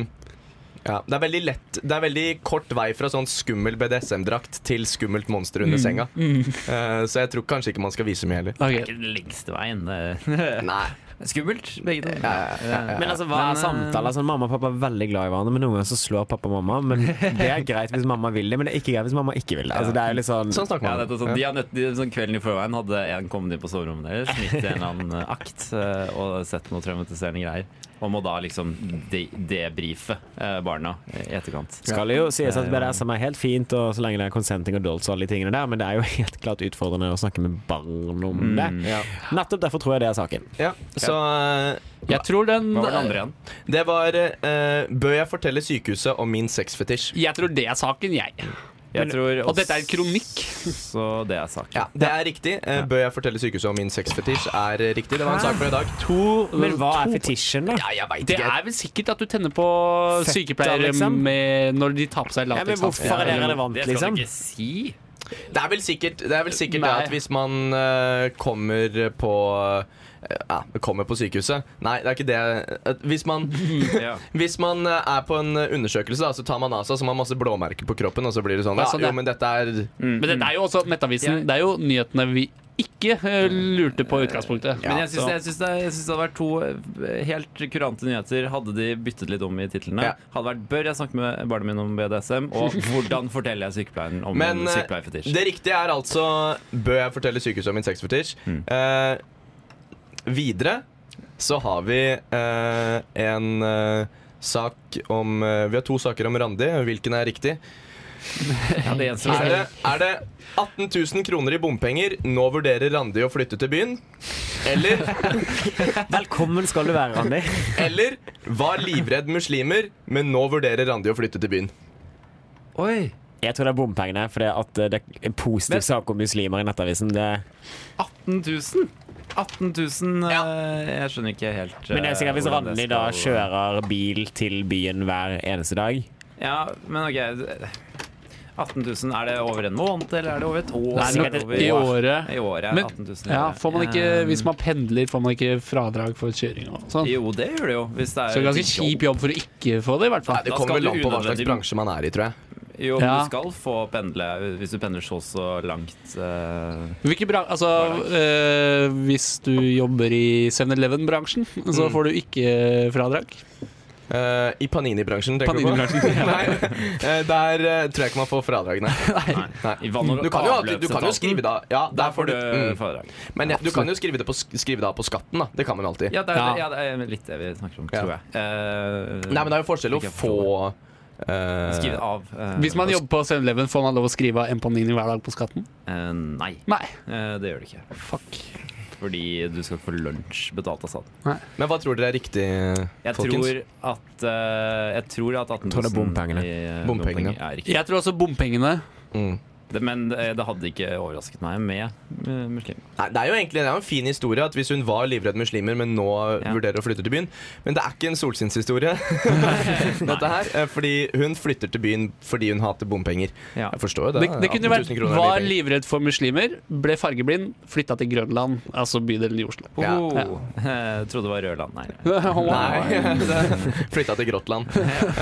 A: ja, det er veldig lett Det er veldig kort vei fra sånn skummel BDSM-drakt til skummelt monster under senga. Eh, så jeg tror kanskje ikke man skal vise mye heller.
B: Ok.
A: Eh,
C: Det er ikke den lengste veien. det.
A: Nei.
C: Skummelt, begge
A: eh,
C: to.
D: Men altså, hva er samtaler? Sånn, mamma og pappa er veldig glad i hverandre, men noen ganger så slår pappa og mamma. Men det er greit hvis mamma vil det, men det er ikke greit hvis mamma ikke vil det. Altså, det er jo litt sånn
A: Sånn snakker
C: Ja,
A: man.
C: dette, er sånn, de har nødt, de, sånn Kvelden i forveien hadde en kommet inn på soverommet deres, midt i en eller annen eh, akt, eh, og sett noe traumatiserende greier. Og må da liksom de, debrife eh, barna i etterkant.
D: Skal det jo sies at BDSM er helt fint, og så lenge det er consenting adults og alle de tingene der, men det er jo <laughs> helt klart utfordrende å snakke med barn om det.
A: Ja.
D: Nettopp derfor tror jeg det er saken.
A: Ja, så eh,
B: Jeg tror den,
C: Hva var den andre igjen?
A: det var eh, Bør jeg fortelle sykehuset om min sexfetisj?
B: eh, Jeg tror det er saken, jeg.
C: Jeg tror
B: Og dette er en kronikk.
C: Så det er saken.
A: Ja, det er riktig. Eh, Bør jeg fortelle sykehuset om min sexfetisj? Er eh, riktig. Det var en sak for i dag.
D: To Men hva er fetisjen, da?
A: Ja, jeg veit
B: Det er vel sikkert at du tenner på
D: Fett,
B: sykepleiere
D: liksom.
B: med, når de tar på seg
D: Ja, men
B: latekshansker.
D: hvorfor er det relevant,
C: Det skal
D: liksom?
C: du ikke si.
A: Det er vel sikkert det, er vel sikkert det
B: Nei.
A: at hvis man eh, kommer på eh, ja, kommer på sykehuset Nei, det er ikke det. At Hvis man,
C: Ja.
A: hvis man eh, er på en undersøkelse, da, så tar man av seg så man har masse blåmerker på kroppen, og så blir det sånn
B: Ja,
A: Ja,
B: sånn, ja.
A: jo, men dette er
B: Men det er jo også Nettavisen. Det er jo nyhetene vi ikke eh, lurte på i utgangspunktet.
C: Men jeg syns,
B: Så-
C: jeg, syns det, jeg syns det hadde vært to eh, helt kurante nyheter hadde de byttet litt om i titlene.
A: Ja.
C: Hadde vært 'Bør jeg snakke med barna mine om BDSM?'
B: <laughs>
C: og 'Hvordan forteller jeg sykepleieren om
A: Men
C: en
A: eh,
C: sykepleierfetisj?'
A: det riktige er altså Bør jeg fortelle sykehuset om min sexfetisj? Eh, videre så har vi eh, en eh, sak om eh, Vi har to saker om Randi. Hvilken er riktig?
C: Ja, det gjenstår å
A: Er
C: se.
A: det,
B: <laughs>
A: er det 18 000 kroner i bompenger, nå vurderer Randi å flytte til byen? Eller,
D: Velkommen skal du være, Randi.
A: eller var livredd muslimer, men nå vurderer Randi å flytte til byen?
C: Oi!
D: Jeg tror det er bompengene, for det, at eh, det er en positiv sak om muslimer i Nettavisen. Det,
C: 18 000? 18 000 eh, Jeg skjønner ikke helt eh,
D: men det er sikkert hvis
C: hvordan det
D: Randi da
C: skal-
D: kjører bil til byen hver eneste dag.
C: Ja, men ok 18 000, er det over en måned, eller er det over et år?
B: Nei,
C: Eller er
B: men
C: det over-
B: i året.
C: I året er
B: Men-
C: 18 000 i
B: Ja,
C: året.
B: får man ikke,
C: Eh,
B: hvis man pendler, får man ikke fradrag for kjøring og sånn.
C: Jo, det gjør det jo. Hvis det er
B: Så det er ganske
C: et jobb.
B: kjip jobb for å ikke få det, i hvert
A: Nei,
B: fall.
A: det
C: Da
A: kommer
C: skal
A: vel an
C: du
A: på hva slags
C: unødvendig-
A: bransje man er i, tror jeg.
C: Jo, men
B: Ja.
C: du skal få pendle hvis du pendler så så langt. eh,
B: Hvilke bra altså, eh, hvis du jobber i 7-Eleven-bransjen, så får du ikke fradrag.
A: Eh, I Panini-bransjen, tenker du på?
B: Panini-bransjen,
A: <laughs> Nei, eh, der eh, tror jeg ikke man får fradrag, nei. Nei.
C: I vann- og
A: Du kan jo, alltid- du kan jo
C: avløpsetaten.
A: skrive det av. Ja,
C: Der
A: der får du, mm.
C: fradrag.
A: Men ja, du kan jo skrive det, på, skrive det av på skatten, da. Det kan man jo alltid.
C: Ja, det er,
B: Ja.
C: ja. det er litt det vi snakker om,
A: Ja.
C: tror jeg. Eh,
A: Nei, men det er jo forskjell å
C: Ikke
A: få eh,
C: Skrive av eh,
B: Hvis man jobber på 7-Eleven, får man lov å skrive av en panini hver dag på skatten?
C: eh, Nei,
B: Nei.
C: eh, det gjør det ikke.
B: Fuck.
C: Fordi du skal ikke få lunsj betalt av staten.
A: Men hva tror dere er riktig,
C: Jeg
A: folkens?
C: tror at, eh, jeg tror at 18 000
D: Tror det er bompengene.
C: i, eh,
A: Bompengene.
C: bompenger er riktig.
B: Jeg tror også bompengene
A: Mm.
C: Det- Men eh, det hadde ikke overrasket meg med eh, muslim.
A: Nei, det er jo egentlig det er jo en fin historie at hvis hun var livredd muslimer, men nå
C: Ja.
A: vurderer å flytte til byen. Men det er ikke en solskinnshistorie, <laughs> dette her. eh, Fordi hun flytter til byen fordi hun hater bompenger.
C: Ja.
A: Jeg forstår jo det.
B: Det, det kunne
A: 18
B: vært
A: 000 kroner er mye
B: Var
A: penger.
B: livredd for muslimer, ble fargeblind, flytta til Grønland, altså bydelen i Oslo. <laughs>
A: Ja.
C: Hoho. <laughs> Eh, trodde det var Rødland. Nei.
A: Nei, <laughs> det- flytta til Gråtland.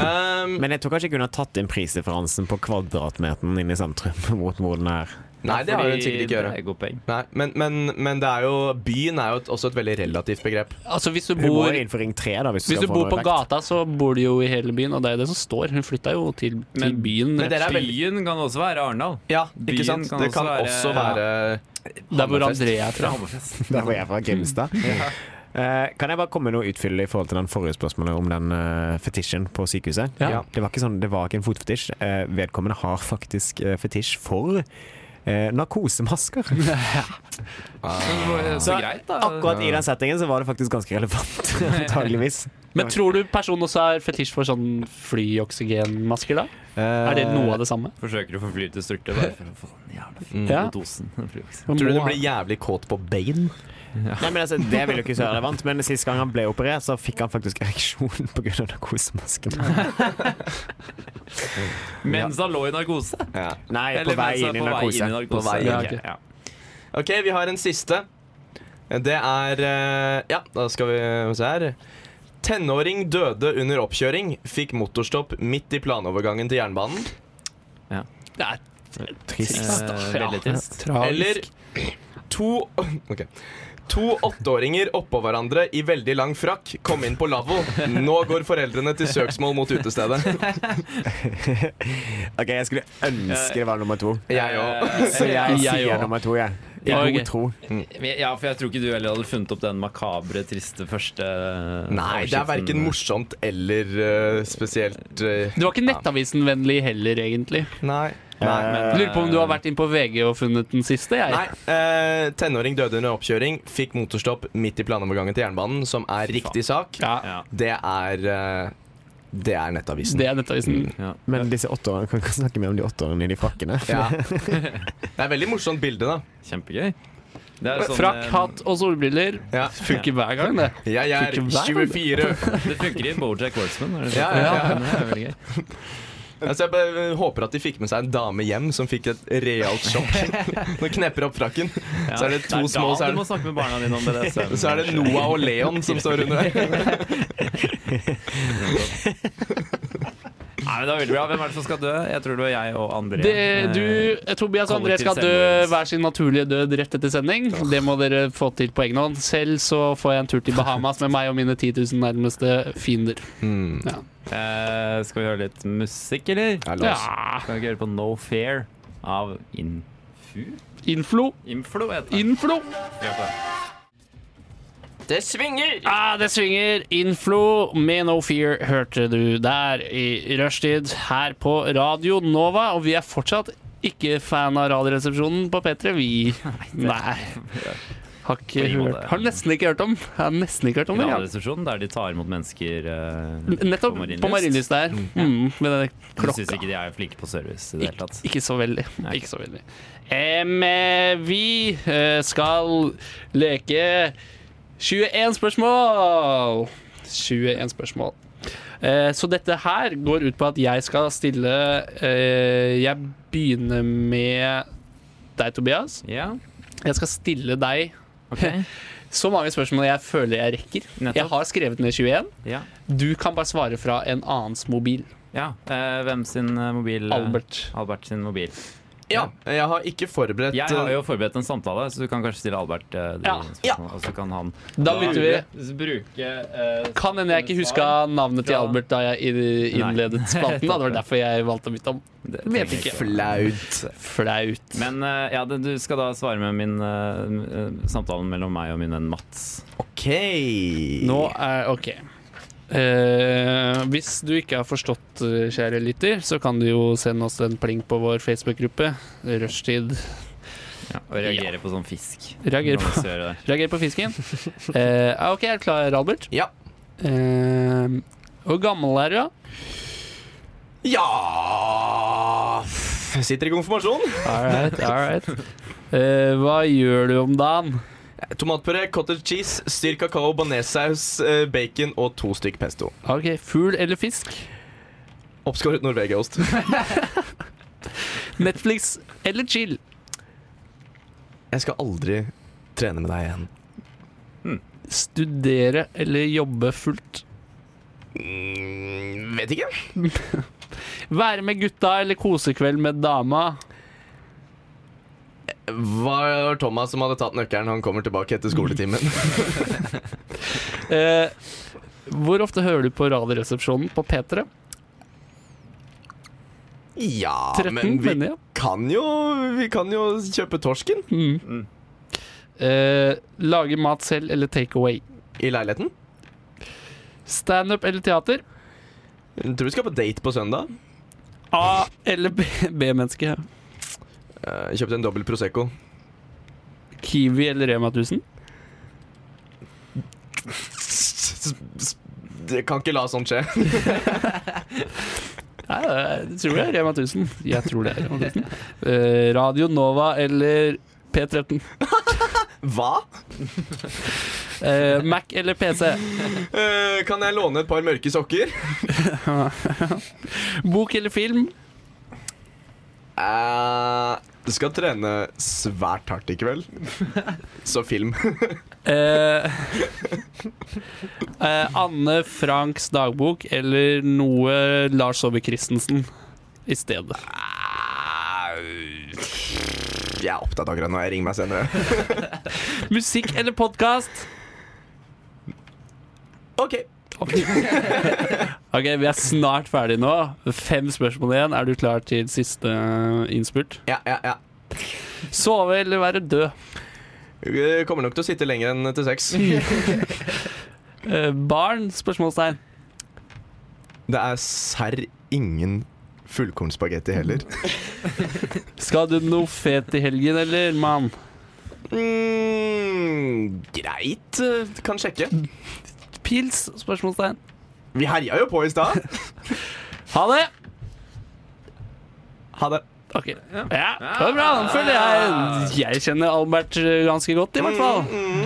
B: <laughs>
A: Um,
D: Men jeg tror kanskje ikke hun har tatt inn prisdifferansen på kvadratmeteren inne i sentrum. <laughs> mot hvor den er.
A: nei, det har hun sikkert ikke
C: Det
A: gjort.
C: er godt poeng.
A: Nei, men, men, men det er jo, byen er jo et, også et veldig relativt begrep.
B: Altså, hvis du
D: Hun må
B: bor
D: jo inn for Ring 3 da, hvis,
B: hvis
D: skal
B: du
D: få
B: bor
D: noe
B: på
D: effekt.
B: gata, så bor du jo i hele byen, og det er det som står. Hun flytta jo til, til
C: Men-
B: byen.
A: men dere er veldig-
C: Byen kan også være Arendal.
A: Ja,
C: Byen
A: ikke sant?
C: kan
A: det kan
C: også være-
A: også
B: der
A: være
B: hvor
A: Hammerfest.
B: André er fra.
D: Der var jeg fra <laughs> Grimstad. Eh, kan jeg bare komme med noe utfyllende i forhold til den forrige spørsmålet om den eh, fetisjen på sykehuset?
B: Ja. Ja.
D: Det var ikke sånn, det var ikke en fotfetisj. Eh, vedkommende har faktisk eh, fetisj for eh, narkosemasker.
A: Ah.
C: Så greit, da.
D: Akkurat i den settingen så var det faktisk ganske relevant, antageligvis.
B: Men tror du personen også har fetisj for sånn flyoksygenmasker, da?
D: Eh,
B: Er det noe av det samme?
C: Forsøker å få flyet til styrte bare for å få den jævla
A: Mm.
C: fine
B: Ja.
C: dosen. <laughs> liksom.
B: Man
A: Tror
B: må
A: du du
B: ha-
A: blir jævlig kåt på Bane?
D: Nei, men altså, Det vil jo ikke være relevant, men sist gang han ble operert, så fikk han faktisk ereksjon pga. narkosemasken.
C: Mens han lå i narkose.
A: Ja.
D: Nei,
C: Eller
D: på
C: mens
D: vei
C: han
D: inn i
C: på vei
D: narkose.
C: inn i narkose.
A: På vei inn,
C: Ja,
B: ok.
C: ok. Ja.
A: Ok, vi har en siste. Det er eh, Ja, da skal vi se her. Tenåring døde under oppkjøring. Fikk motorstopp midt i planovergangen til jernbanen.
B: Det er
D: Trist.
B: trist, da.
C: Eh, veldig trist.
B: Tragisk.
A: Eller to <laughs> Ok. To åtteåringer oppå hverandre i veldig lang frakk kom inn på lavvo. Nå går foreldrene til søksmål mot utestedet.
D: <laughs> OK, jeg skulle ønske det var nummer to.
A: Jeg òg. <laughs>
D: Så jeg
B: Jeg
D: sier
B: også.
D: nummer to, jeg. I
B: Ja, ok.
D: god tro.
C: Men- Ja, for Eh, jeg tror ikke du heller hadde funnet opp den makabre, triste første
A: Nei, det er verken morsomt eller eh, spesielt eh,
B: Du var ikke Nettavisen-vennlig heller, egentlig.
A: Nei.
D: Nei, men-
B: Jeg lurer på om du har vært inn på VG og funnet den siste, jeg.
A: Nei, eh, Tenåring døde under oppkjøring, fikk motorstopp midt i planovergangen til jernbanen, som er riktig sak.
B: Ja,
C: Ja.
A: Det er eh, Det er Nettavisen. Mm.
B: det er Nettavisen.
C: Ja.
D: Men disse åtteårene, kan vi snakke mer om de åtteårene i de frakkene?
A: Ja. <laughs> Det er et veldig morsomt bilde, da.
C: Kjempegøy. Det er sånn,
B: Frakk,
C: eh,
B: hatt og solbriller.
A: Ja.
B: Funker hver gang, det.
A: Jeg er
B: Fikk ikke være
A: 24.
C: eh, Det funker i Bojack Horseman. er det
A: Ja,
C: sånn?
A: ja, ja.
C: Det er veldig gøy.
A: Altså, jeg bare håper at de fikk med seg en dame hjem som fikk et realt sjokk.
B: <laughs>
A: Når knepper opp frakken,
C: Ja.
A: så er det to
C: er
A: små
C: da
A: så er,
C: du må snakke med barna dine om det.
A: <laughs> det- så er det Noah og Leon som står under
B: <laughs>
A: der.
C: Nei, men det er veldig bra. Hvem er det som skal dø? Jeg tror det var jeg og André.
B: <laughs>
C: Eh,
B: det du, eh, Tobias og André skal dø hver sin naturlige død rett etter sending. Det må dere få til på egen hånd. Selv så får jeg en tur til Bahamas med meg og mine 10 000 nærmeste fiender.
A: Mm.
C: Eh, skal vi høre litt musikk, eller?
A: Ja, la oss.
B: Ja.
C: Skal vi ikke høre på No Fair av Infu?
B: Inflo.
C: Inflo heter den.
B: Inflo.
C: Hør på den.
A: Det svinger!
B: Ah, det svinger. Inflo med No Fear hørte du der i rushtid her på Radio Nova. Og vi er fortsatt ikke fan av Radioresepsjonen på P3,
C: <laughs>
B: vi. Nei. Har,
C: På
B: ikke
C: ingen
B: hørt.
C: måte.
B: har nesten ikke hørt om. Har nesten ikke hørt om det. Ja.
C: Kriminalresepsjonen, der de tar imot mennesker eh,
B: Nettopp på Marienlyst der. Mm, med denne
C: Jeg syns
B: klokka.
C: ikke de er flinke på service i det hele
B: Ik-
C: tatt.
B: Ikke så veldig.
C: Nei.
B: Ikke så veldig. Em, eh, vi eh, skal leke 21 spørsmål. 21 spørsmål. Eh, så dette her går ut på at jeg skal stille eh, Jeg begynner med deg, Tobias.
C: Ja,
B: Jeg skal stille deg
C: ok.
B: så mange spørsmål jeg føler jeg rekker.
C: Nettopp.
B: Jeg har skrevet ned 21.
C: Ja.
B: Du kan bare svare fra en annens mobil.
C: ja. eh, hvem sin eh, mobil? eh,
B: Albert.
C: Albert sin mobil.
A: Ja, jeg har ikke forberedt
C: Jeg har jo forberedt en samtale, så du kan kanskje stille Albert eh, de
B: Ja.
C: spørsmålene,
A: Ja.
C: Og så kan han
B: Da begynner vi.
C: Bruke eh,
B: Kan hende jeg ikke huska navnet til
C: Ja.
B: Albert da jeg i- innledet
C: Nei.
B: spalten. Da. Det var derfor jeg valgte å bytte om. Vet ikke.
A: Flaut.
B: Flaut.
C: Men eh, ja, det- du skal da svare med min eh, eh, samtalen mellom meg og min venn Mats.
A: OK.
B: Nå er OK. Eh, hvis du ikke har forstått, eh, kjære lytter, så kan du jo sende oss en pling på vår Facebook-gruppe. Rushtid.
C: Ja, og reagere på sånn fisk. Hvordan
B: Reagere på,
C: skal jeg gjøre det?
B: reager på fisken. <laughs> Eh, ja, OK, er du klar, Albert?
A: Ja.
B: Eh, hvor gammel er du, da?
A: Ja Jeg Sitter i konfirmasjon.
B: All right, all right. Eh, hva gjør du om dagen?
A: Tomatpuré, cottage cheese, styr kakao, banesaus, eh, bacon og to stykk pesto.
B: OK, fugl eller fisk?
A: Oppskåret norvegiaost.
B: Netflix eller chill?
A: Jeg skal aldri trene med deg igjen.
B: Studere eller jobbe fullt?
A: Mm, vet ikke.
B: Være med gutta eller kosekveld med dama?
A: Var Thomas som hadde tatt nøkkelen? Han kommer tilbake etter skoletimen.
B: Eh, hvor ofte hører du på Radioresepsjonen på P3?
A: <laughs> Ja,
B: 13,
A: men vi
B: mener jeg.
A: kan jo Vi kan jo kjøpe torsken
B: Mm. Eh, lage mat selv eller take away?
A: i leiligheten.
B: Standup eller teater?
A: Jeg tror vi skal på date på søndag.
B: A- eller B- B-menneske?
A: Eh, Kjøpte en dobbel Prosecco.
B: Kiwi eller Rema 1000?
A: S- s- s- Jeg kan ikke la sånt skje. <laughs>
B: Nei, det tror jeg er Rema 1000. Jeg tror det er Rema 1000. Eh, Radio Nova eller P13?
A: Hva?
B: Eh, Mac eller PC?
A: Eh, Kan jeg låne et par mørke sokker?
B: Bok eller film?
A: Eh, Du skal trene svært hardt i <laughs> kveld. Så film.
B: Eh, <laughs> eh, Anne Franks dagbok eller noe Lars Saabye Christensen i stedet.
A: Eh, Jeg er opptatt akkurat nå. Jeg ringer meg senere.
B: Musikk eller podkast?
A: OK.
B: Ok, vi er snart ferdig nå. Fem spørsmål igjen. Er du klar til siste eh, innspurt?
A: Ja, ja, ja.
B: Sove eller være død?
A: Jeg kommer nok til å sitte lenger enn til seks.
B: Eh, barn? Spørsmålstegn.
A: Det er serr ingen fullkornspagetti heller.
B: Skal du noe fet i helgen, eller, mann?
A: Mm, greit. Kan sjekke.
B: Pils? Spørsmålstegn.
A: Vi herja jo på i stad.
B: Ha det!
A: Ha det.
B: Ok. Ja, det var bra. Den føler jeg Jeg kjenner Albert eh, ganske godt, i hvert fall.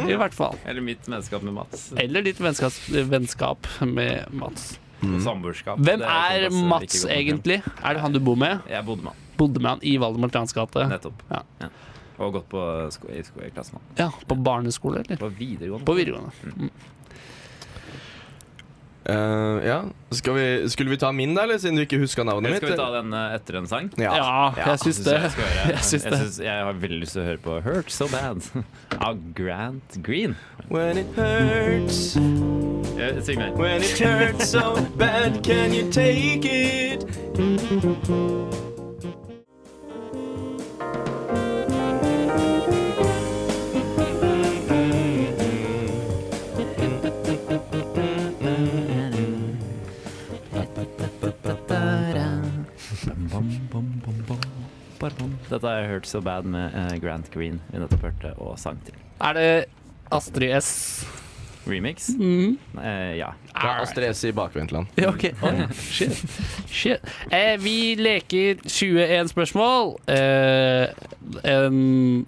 B: I hvert fall.
C: Eller mitt vennskap med Mats.
B: Eller ditt vennskap, vennskap med Mats.
C: Og samboerskap.
B: Hvem
C: Det
B: er
C: såpass
B: Mats,
C: like godt nok.
B: egentlig? Er det han du bor med?
C: Jeg bodde med han,
B: Bodde med han i Valdemar Trans gate?
C: nettopp.
B: Ja.
C: Ja. Og gått på sko i sko i klassen hans.
B: Ja, på barneskole, eller?
C: På videregående.
B: På videregående.
A: Eh, ja. Skal vi, skulle vi ta min, da, eller siden du ikke huska navnet
C: Eller
A: mitt?
C: skal vi ta den eh, etter en sang?
A: Ja.
B: Ja, jeg syns det.
C: Jeg, skal høre.
B: <laughs> Jeg syns det.
C: Jeg, syns- jeg har veldig lyst til å høre på Hurt So Bad <laughs> av Grant Green.
A: When it hurts,
C: Eh, Syng med.
A: when it hurts so bad, can you take it?
C: Dette har jeg hørt So Bad med eh, Grant Green vi nettopp hørte, og sang til.
B: Er det Astrid S? Mm.
C: Remix? Eh, ja.
A: Det er Astrid S i bakvendtland.
B: Ja, OK. Oi, <laughs> shit. shit. Eh, vi leker 21 spørsmål. Eh, en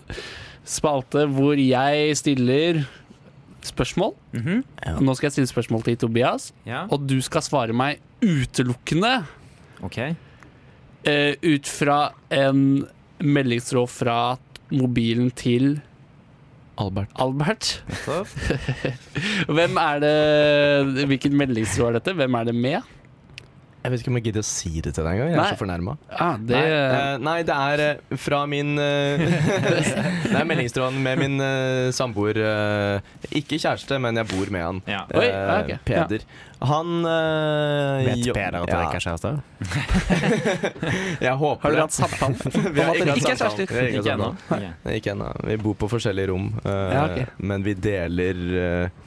B: spalte hvor jeg stiller spørsmål.
C: Mhm.
B: Nå skal jeg stille spørsmål til Tobias,
C: ja.
B: og du skal svare meg utelukkende
C: OK.
B: eh, ut fra en meldingstråd fra mobilen til
A: Albert.
B: Albert.
C: Nettopp.
B: Hvem er det Hvilken meldingstråd er dette? Hvem er det med?
A: Jeg vet ikke om jeg gidder å si det til deg engang. Jeg
B: Nei.
A: er så fornærma.
B: Ah, det
A: Nei, eh, nei, det er eh, fra min eh, <laughs> Det er meldingstråden med min eh, samboer. eh, ikke kjæreste, men jeg bor med han.
B: <laughs>
C: Ja.
B: Oi,
A: Eh,
B: ok, ja.
A: Peder. Han eh,
D: Vet
A: jo-
D: Peder
A: ja,
D: at dere ikke er kjærester?
A: Jeg håper
B: Har dere
A: det.
B: hatt samtale? <laughs>
A: Vi har
B: om at dere ikke er
A: samtale.
B: kjærester?
A: Vi har ikke hatt
C: Ikke ennå.
A: samtale. Nei, Ikke ennå. Vi bor på forskjellige rom, eh,
B: Ja, ok.
A: men vi deler eh,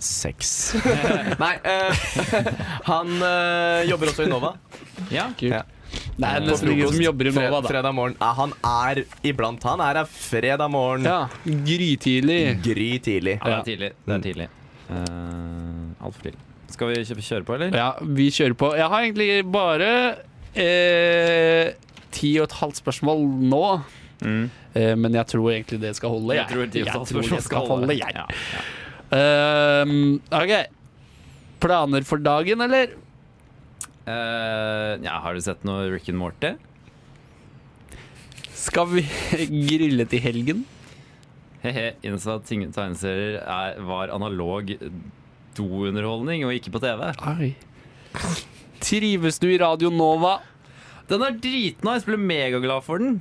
A: sex. <laughs> Nei eh, <laughs> Han eh, jobber også i Nova.
C: Ja.
B: Det er
A: På
B: nesten ingen
A: frokost.
B: som jobber i
A: Fre-
B: Nova, da.
A: Fredag morgen. Ja, han er iblant. Han er her fredag morgen.
B: Ja, Grytidlig.
A: Gry tidlig.
C: ja, det
B: Ja.
C: er tidlig. Det er tidlig. Uh, Altfor tidlig. Skal vi kjøpe kjøre på, eller?
B: Ja, vi kjører på. Jeg har egentlig bare eh, ti og et halvt spørsmål nå.
C: Mm.
B: Eh, men jeg tror egentlig det skal holde.
C: Jeg tror de
B: jeg,
C: også
B: tror det skal holde, jeg.
C: Ja.
B: Ehm, OK. Planer for dagen, eller?
C: Eh, ja, har du sett noe Rick and Morty?
B: Skal vi <laughs> grille til helgen?
C: He-he, innså at ting- tegneserier er- var analog dounderholdning og ikke på TV.
B: Oi. Trives du i Radio Nova?
C: Den er dritnice! Ble megaglad for den.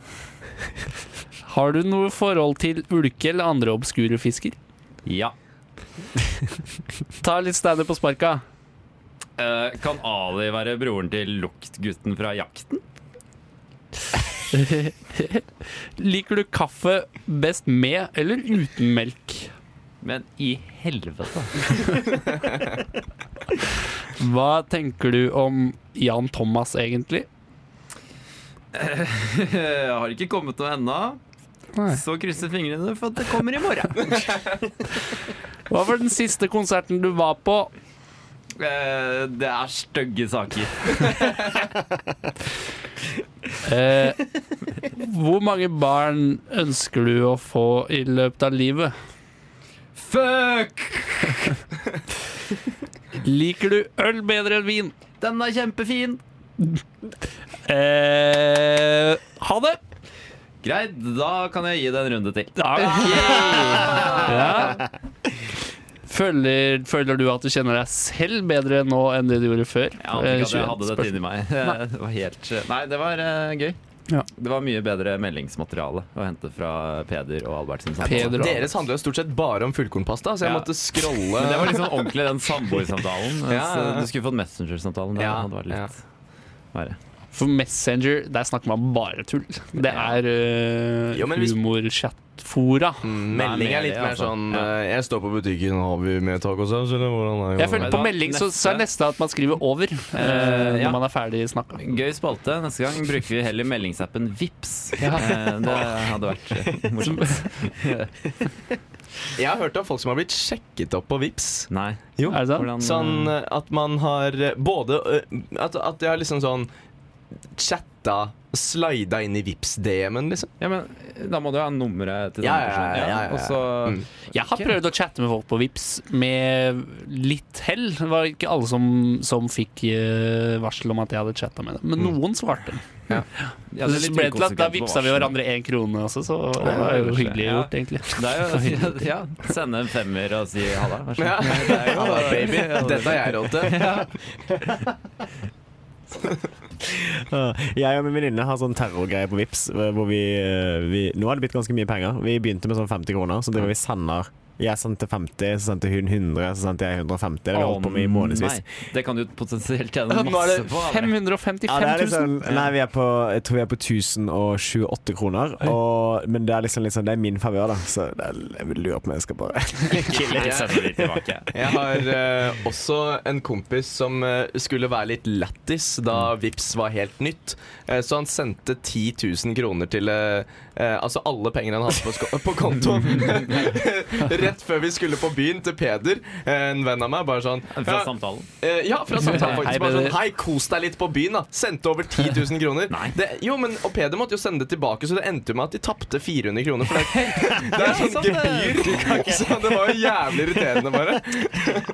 B: Har du noe forhold til ulke eller andre obskure fisker?
C: Ja.
B: Ta litt standup på sparka.
C: Eh, kan Ali være broren til luktgutten fra Jakten?
B: Liker du kaffe best med eller uten melk?
C: Men i helvete!
B: Hva tenker du om Jan Thomas, egentlig?
C: <laughs> Jeg har ikke kommet noe ennå.
B: Nei.
C: Så krysser fingrene for at det kommer i morgen.
B: Hva var den siste konserten du var på?
C: Eh, det er stygge saker.
B: Eh, hvor mange barn ønsker du å få i løpet av livet?
C: Fuck!
B: Liker du øl bedre enn vin?
C: Den er kjempefin!
B: Eh, ha det!
C: Greit, da kan jeg gi det en runde til.
B: Ja. Ja. Føler, føler du at du kjenner deg selv bedre nå enn det du gjorde før?
C: Jeg ante ikke at jeg hadde
B: Eh,
C: <laughs> dette inni meg. Det var helt eh, Nei, det var eh, gøy.
B: Ja.
C: Det var mye bedre meldingsmateriale å hente fra Peder og Albert sin
B: Peder
C: samtale.
B: og-
A: Deres handler jo stort sett bare om fullkornpasta, så jeg
C: Ja.
A: måtte scrolle.
C: Men det
A: <laughs>
C: var liksom ordentlig den samboersamtalen.
A: Ja, ja, ja.
C: mens, eh, Du skulle fått Messenger-samtalen. Det
A: Ja,
C: hadde vært litt verre.
B: For Messenger, der snakker man bare tull. Det er uh,
A: Jo, men hvis-
B: humorchatfora.
A: Mm,
C: Nei,
A: Melding er
C: mer
A: litt
C: det,
A: mer
C: altså.
A: sånn
B: Ja.
A: eh, Jeg står på butikken, har vi med tacosaus, eller hvordan er det?
B: Jeg føler
C: Vet du
B: På
C: hva?
B: melding så, så er
C: Neste-
B: neste at man skriver 'over' eh,
C: ja.
B: når man er ferdig snakka.
C: Gøy spalte. Neste gang bruker vi heller meldingsappen Vips.
B: Ja.
C: Eh, Det hadde vært eh, morsomt.
A: Jeg har hørt om folk som har blitt sjekket opp på Vips
C: Nei.
A: Jo.
B: Er det sant?
C: Hvordan, eh,
A: Sånn eh, at man har eh, både eh, At, at jeg har liksom sånn chatta, slida inn i Vips-DM-en, liksom.
C: Ja, men da må du ha nummeret til den
A: Ja, ja, ja, ja, ja, ja.
C: Og så
A: Mm.
B: Jeg har
C: Ok.
B: prøvd å chatte med folk på Vips med litt hell. Det var ikke alle som, som fikk eh, varsel om at jeg hadde chatta med dem, men noen svarte.
C: Mm. ja,
B: Så
C: det er litt
B: ble det til at
C: ukonsekvent
B: Da
C: på
B: vipsa vi
C: varsel.
B: hverandre én krone også, så
C: det
B: det var
C: var
B: jo
C: koselig.
B: hyggelig
C: Ja.
B: gjort, egentlig.
C: Det <laughs> er jo ja, Sende en femmer og si halla. Vær så
A: Ja.
C: god. Det <laughs> er jo-
A: Halla, baby. Dette har jeg råd til.
D: Ja, Jeg og min venninne har sånn terrorgreie på Vips eh, hvor vi, eh, vi Nå har det blitt ganske mye penger. Vi begynte med sånn 50 kroner, så driver vi sender jeg sendte 50, så sendte hun 100, så sendte jeg 150. Det har vi holdt på med i månedsvis.
C: Å, nei. Det kan du potensielt tjene
B: Nå er
C: masse
B: det
C: på. Are.
B: 555
D: Ja, det
B: 000.
D: er liksom,
C: sånn-
D: nei, vi er på, jeg tror vi er på 1028 kroner, og, men det er liksom, liksom det er min favør, da. Så det er, jeg lurer på om jeg skal bare
C: Ikke sender de tilbake.
A: Jeg har eh, også en kompis som eh, skulle være litt lættis da
C: Mm.
A: Vips var helt nytt. Eh, så han sendte 10 000 kroner til eh, eh, Altså alle pengene han hadde på, sko- på konto.
C: <laughs>
A: <laughs> Rett før vi skulle på byen til Peder, eh, en venn av meg, bare sånn
C: Fra samtalen.
A: Eh, ja, fra
B: Hei,
A: samtalen faktisk. Bare sånn,
B: Peder.
A: Hei, kos deg litt på byen, da. Sendte over 10 000 kroner.
C: Nei.
A: Det, jo, men, og Peder måtte jo sende det tilbake, så det endte jo med at de tapte 400 kroner. For det, det er sånn gebyr. <laughs> Så det var jo jævlig irriterende, bare.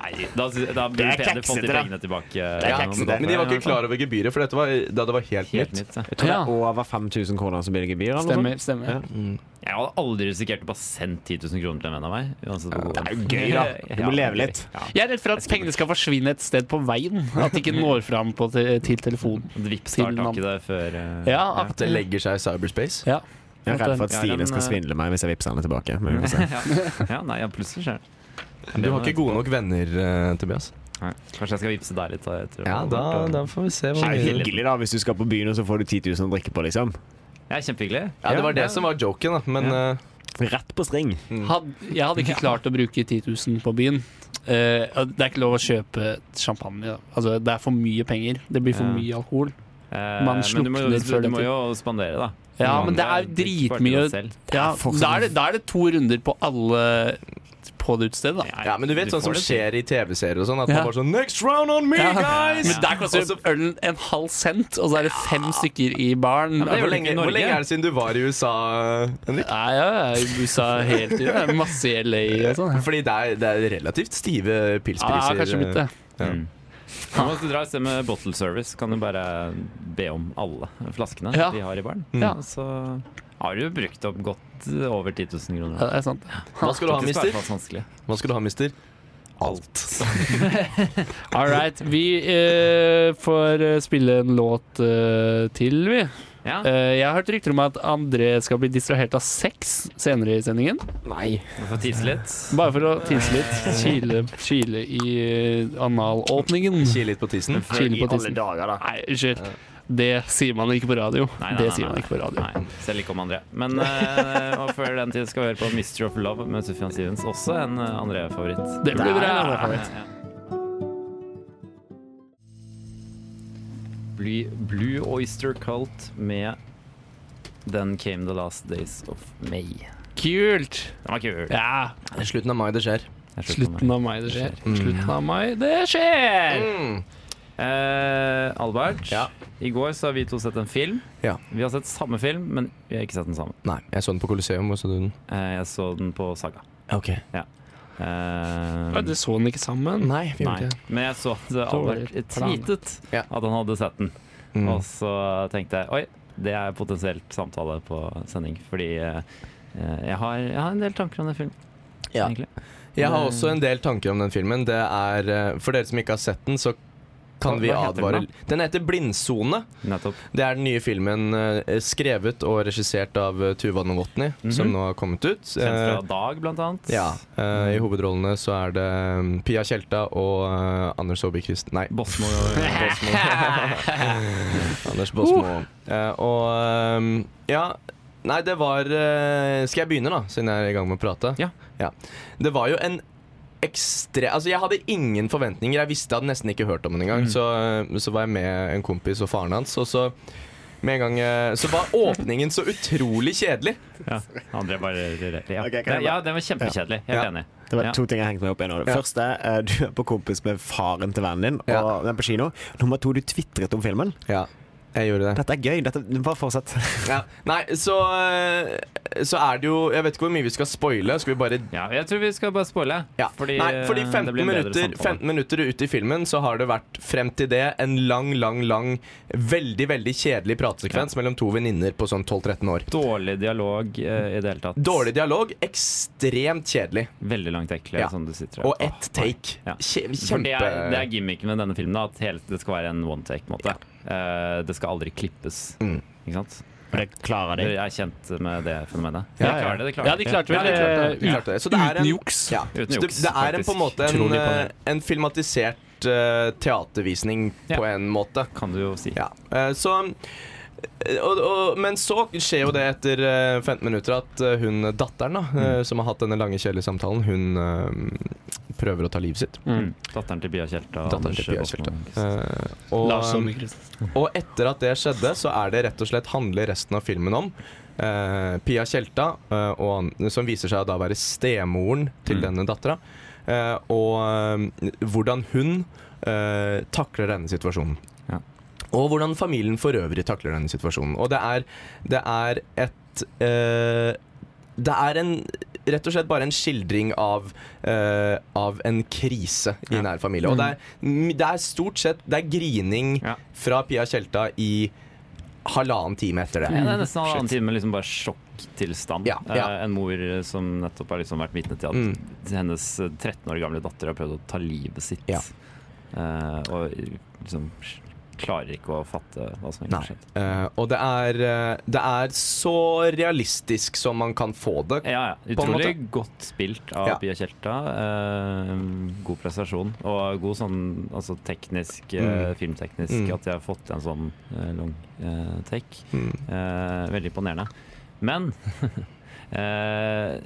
C: Nei, da, sy- da burde
D: Det er
C: Peder fått de
D: keksete, da.
C: pengene tilbake.
D: er
C: Ja,
D: keksete.
A: Men de var ikke klar over gebyret, for dette var da det var helt,
C: Helt
A: nytt.
C: nytt. Ja.
D: Jeg tror
B: Ja.
D: det er over 5000 kroner som blir det gebyr. eller noe sånt.
B: Stemmer. stemmer.
D: Ja.
C: Jeg hadde aldri risikert å bare sende 10 000 kroner til en venn av meg. Uansett hvor god
D: Det er jo gøy, da. Du må leve litt.
B: Jeg er redd for at pengene skal forsvinne et sted på veien.
C: <laughs>
B: At de ikke når fram på te til telefonen.
C: Vips tar tak i det før eh,
B: Ja, at-
A: Det legger seg i cyberspace.
B: ja.
D: Jeg er redd for at
C: Ja,
D: Stine
C: den,
D: skal
C: eh,
D: svindle meg hvis jeg vippser henne tilbake. Men vi får se.
C: ja. ja, nei, ja, plutselig skjer det.
A: Du har ikke gode nok venner, eh, Tobias.
C: Nei. Kanskje jeg skal vippse deg litt. da, etter å ha vært, eh,
A: får vi se
D: Det er jo hyggelig, da, hvis du skal på byen og så får du 10 000 å drikke på, liksom.
C: Jeg er kjempehyggelig.
A: Ja, det var det som var joken, da. Men eh,
D: Rett på string.
B: Had, jeg hadde ikke klart å bruke 10 000 på byen. Eh, og det er ikke lov å kjøpe champagne. Da. Altså, det er for mye penger. Det blir for
C: Ja.
B: mye alkohol.
C: Eh, men du
B: Man
C: må,
B: slukner
C: jo-
B: før
C: du
B: den
C: må
B: tid.
C: jo spandere, da.
B: Ja, men det
C: Andre
B: er
C: drikker bare til
B: dritmye-
C: deg selv.
B: Ja,
D: for-
B: da, er det, da er det to runder på alle på det utestedet, da.
A: ja, men du vet sånn som
C: får det til.
A: skjer i TV-serier og sånn, at
B: Ja.
A: man bare sånn Next round on me,
B: Ja.
A: guys!
B: Men der koster
A: Også-
B: ølen en halv cent, og så er det fem stykker i baren.
C: men det er
A: Hvor
C: vel ikke
A: lenge,
C: i
A: hvor
C: Norge?
A: lenge er det siden du var i USA, Henrik?
B: Nei, ja, jeg er i USA hele tiden. Det er Masse i LA og sånn.
A: Fordi det er, det er relativt stive
B: Ja, eh, jeg har
A: pilspriser.
B: kanskje blitt det.
A: Ja.
C: Mm. Nå må du dra et sted med bottle service. Kan du bare be om alle flaskene
B: Ja.
C: de har i baren?
B: Ja.
C: Og Så har du brukt opp godt over 10 000
B: Ja,
C: kroner.
B: det er sant.
A: <laughs> Hva skal du ha,
C: Det skal ikke
A: mister?
C: være så vanskelig.
A: Hva skal du ha, mister? Alt.
B: All right. Vi eh, får eh, spille en låt eh, til, vi.
C: Ja.
B: Eh, jeg har hørt rykter om at André skal bli distrahert av sex senere i sendingen.
D: Nei.
C: Vi får tise litt.
B: Bare for å tisse litt. <laughs> Kile, kile i eh, analåpningen.
A: Kile litt på tissen.
B: Kile på
D: Alle
B: tissen.
D: dager, da.
B: Nei, unnskyld. Det sier man ikke på radio.
C: Nei, nei,
B: det
C: nei,
B: sier man
C: nei.
B: ikke på radio.
C: Nei, selv ikke om André. Men eh, og før den tid skal vi høre på 'Mystery of Love' med Sufjan Stevens. Også en eh, André-favoritt.
B: Det blir
C: Det er
B: bra.
C: en André-favoritt. Bly- Blue Oyster Cult med Then Came The Last Days Of May.
B: Kult!
C: Den var kul.
B: Ja.
A: <laughs> Det er slutten av mai det skjer.
C: Jeg slutter med
B: Slutten av mai det skjer.
A: Mm.
B: Slutten av mai det skjer!
A: Mm.
C: Eh, Albert,
A: Ja.
C: i går så har vi to sett en film.
A: Ja.
C: Vi har sett samme film, men vi har ikke sett den samme.
A: Nei, jeg så den på Colosseum. Og så du den.
C: Eh, jeg så den på Saga.
A: Ok.
C: Eh,
B: Ja, det så den ikke sammen.
A: Nei, vi gjorde
C: Nei,
A: ikke det.
C: men jeg så at
B: Dårlig
C: Albert
B: plan.
C: tweetet
A: Ja.
C: at han hadde sett den.
A: Mm.
C: Og så tenkte jeg oi, det er potensielt samtale på sending. Fordi eh, jeg, har, jeg har en del tanker om den filmen,
A: Ja.
C: egentlig.
A: Jeg har også en del tanker om den filmen. Det er, eh, for dere som ikke har sett den, så kan vi
C: Hva heter den
A: advare Den heter Blindsone.
C: Nettopp.
A: Det er den nye filmen eh, skrevet og regissert av eh, Tuva Novotny, som
C: Mhm.
A: nå har kommet ut.
C: Kjent
A: Eh,
C: fra Dag, blant annet.
A: ja, eh, I hovedrollene så er det mm, Pia Tjelta og eh, Anders Saabye Christ... Nei,
C: Bosmo.
A: <laughs>
C: <laughs>
A: Båsmo. Anders Båsmo. Eh, og ehm, ja Nei, det var eh, Skal jeg begynne, da, siden jeg er i gang med å prate?
C: Ja.
A: Det var jo en ekstre... Altså, jeg hadde ingen forventninger. Jeg visste jeg hadde nesten ikke hørt om den engang.
C: Mm.
A: Så, eh, så var jeg med en kompis og faren hans, og så med en gang eh, Så var åpningen så utrolig kjedelig.
C: Ja. Han drev bare ja.
E: Ok, kan jeg
C: ja, den var kjempekjedelig. Helt
A: Ja.
C: enig.
D: Det var
C: Ja.
D: to ting jeg hengte meg opp i nå. Det
A: Ja.
D: første, eh, du er på kompis med faren til vennen din, og
A: Ja.
D: den er på kino. Nummer to, du tvitret om filmen.
A: Ja, jeg gjorde det.
D: Dette er gøy. Dette, bare fortsett.
A: Ja. Nei, så eh, Så er det jo Jeg vet ikke hvor mye vi skal spoile. Skal vi bare
C: Ja, jeg tror vi skal bare spoile.
A: Ja.
C: Fordi,
A: Nei, fordi
C: eh,
A: 15
C: det blir en bedre
A: minutter,
C: samtale.
A: 15 minutter ut i filmen så har det vært frem til det en lang, lang, lang, veldig veldig kjedelig pratesekvens mellom to venninner på sånn 12-13 år.
C: Dårlig dialog eh, i det hele tatt.
A: Dårlig dialog, ekstremt kjedelig.
C: Veldig langt ekle,
A: Ja.
C: som sånn du sitter her.
A: Og ett take.
C: Ja.
A: Kje-
C: For det
A: Kjempe
C: er, det er gimmicken med denne filmen, da, at hele, det skal være en one take. på en måte. Eh, det skal aldri klippes.
A: Mm.
C: Ikke sant?
D: For det klarer
C: Dere er kjent med det fenomenet? De
A: Ja, ja.
C: klarer det, de klarer
B: Ja, de klarte vel
C: Ja, de klarte
A: Vi klarte det. Så det er
B: Uten
A: en,
B: juks.
A: ja.
C: Uten
A: Så det,
C: juks,
A: det er en,
C: faktisk.
A: på en måte en,
C: Utrolig imponerende.
A: eh, en filmatisert eh, teatervisning
C: Ja.
A: på en måte.
C: det. Kan du jo si.
A: Ja, eh, så eh, og, og, Men så skjer jo det etter eh, 15 minutter at eh, hun datteren, da, eh, som har hatt denne lange, kjedelige samtalen, hun eh, prøver å ta livet sitt.
C: Mm. Datteren til Bia Tjelta.
A: Datteren til Pia
C: Anders
A: Kjelte.
C: Bosmo.
A: Eh,
B: um,
A: og, og etter at det skjedde, så er det rett og slett handler resten av filmen om eh, Pia Tjelta, eh, og, han- som viser seg å da være stemoren til
C: Mm.
A: denne dattera, eh, og eh, hvordan hun eh, takler denne situasjonen.
C: Ja.
A: Og hvordan familien for øvrig takler denne situasjonen. Og det er, det er et eh, Det er en rett og slett bare en skildring av, eh, av en krise i
C: Ja. Mm.
A: nær familie. Og det er, m- det er stort sett Det er grining
C: Ja.
A: fra Pia Tjelta i halvannen time etter
C: Ja,
A: det.
C: det er nesten en annen
A: Shit.
C: time med liksom bare sjokktilstand.
A: Ja, ja.
C: Eh, en mor som nettopp har liksom vært vitne til at
A: Mm.
C: hennes eh, 13 år gamle datter har prøvd å ta livet sitt.
A: Ja.
C: Eh, og liksom klarer ikke å fatte hva som egentlig
A: Nei.
C: har skjedd.
A: Eh, og det er, eh, det er så realistisk som man kan få det.
C: Ja, ja.
A: På en
C: Utrolig godt spilt av
A: Ja.
C: Pia Tjelta. Eh, god prestasjon. Og god sånn altså teknisk, eh,
A: Mm.
C: filmteknisk,
A: Mm.
C: at de har fått til en sånn eh, long eh, take.
A: Mm.
C: Eh, veldig imponerende. Men <laughs> eh,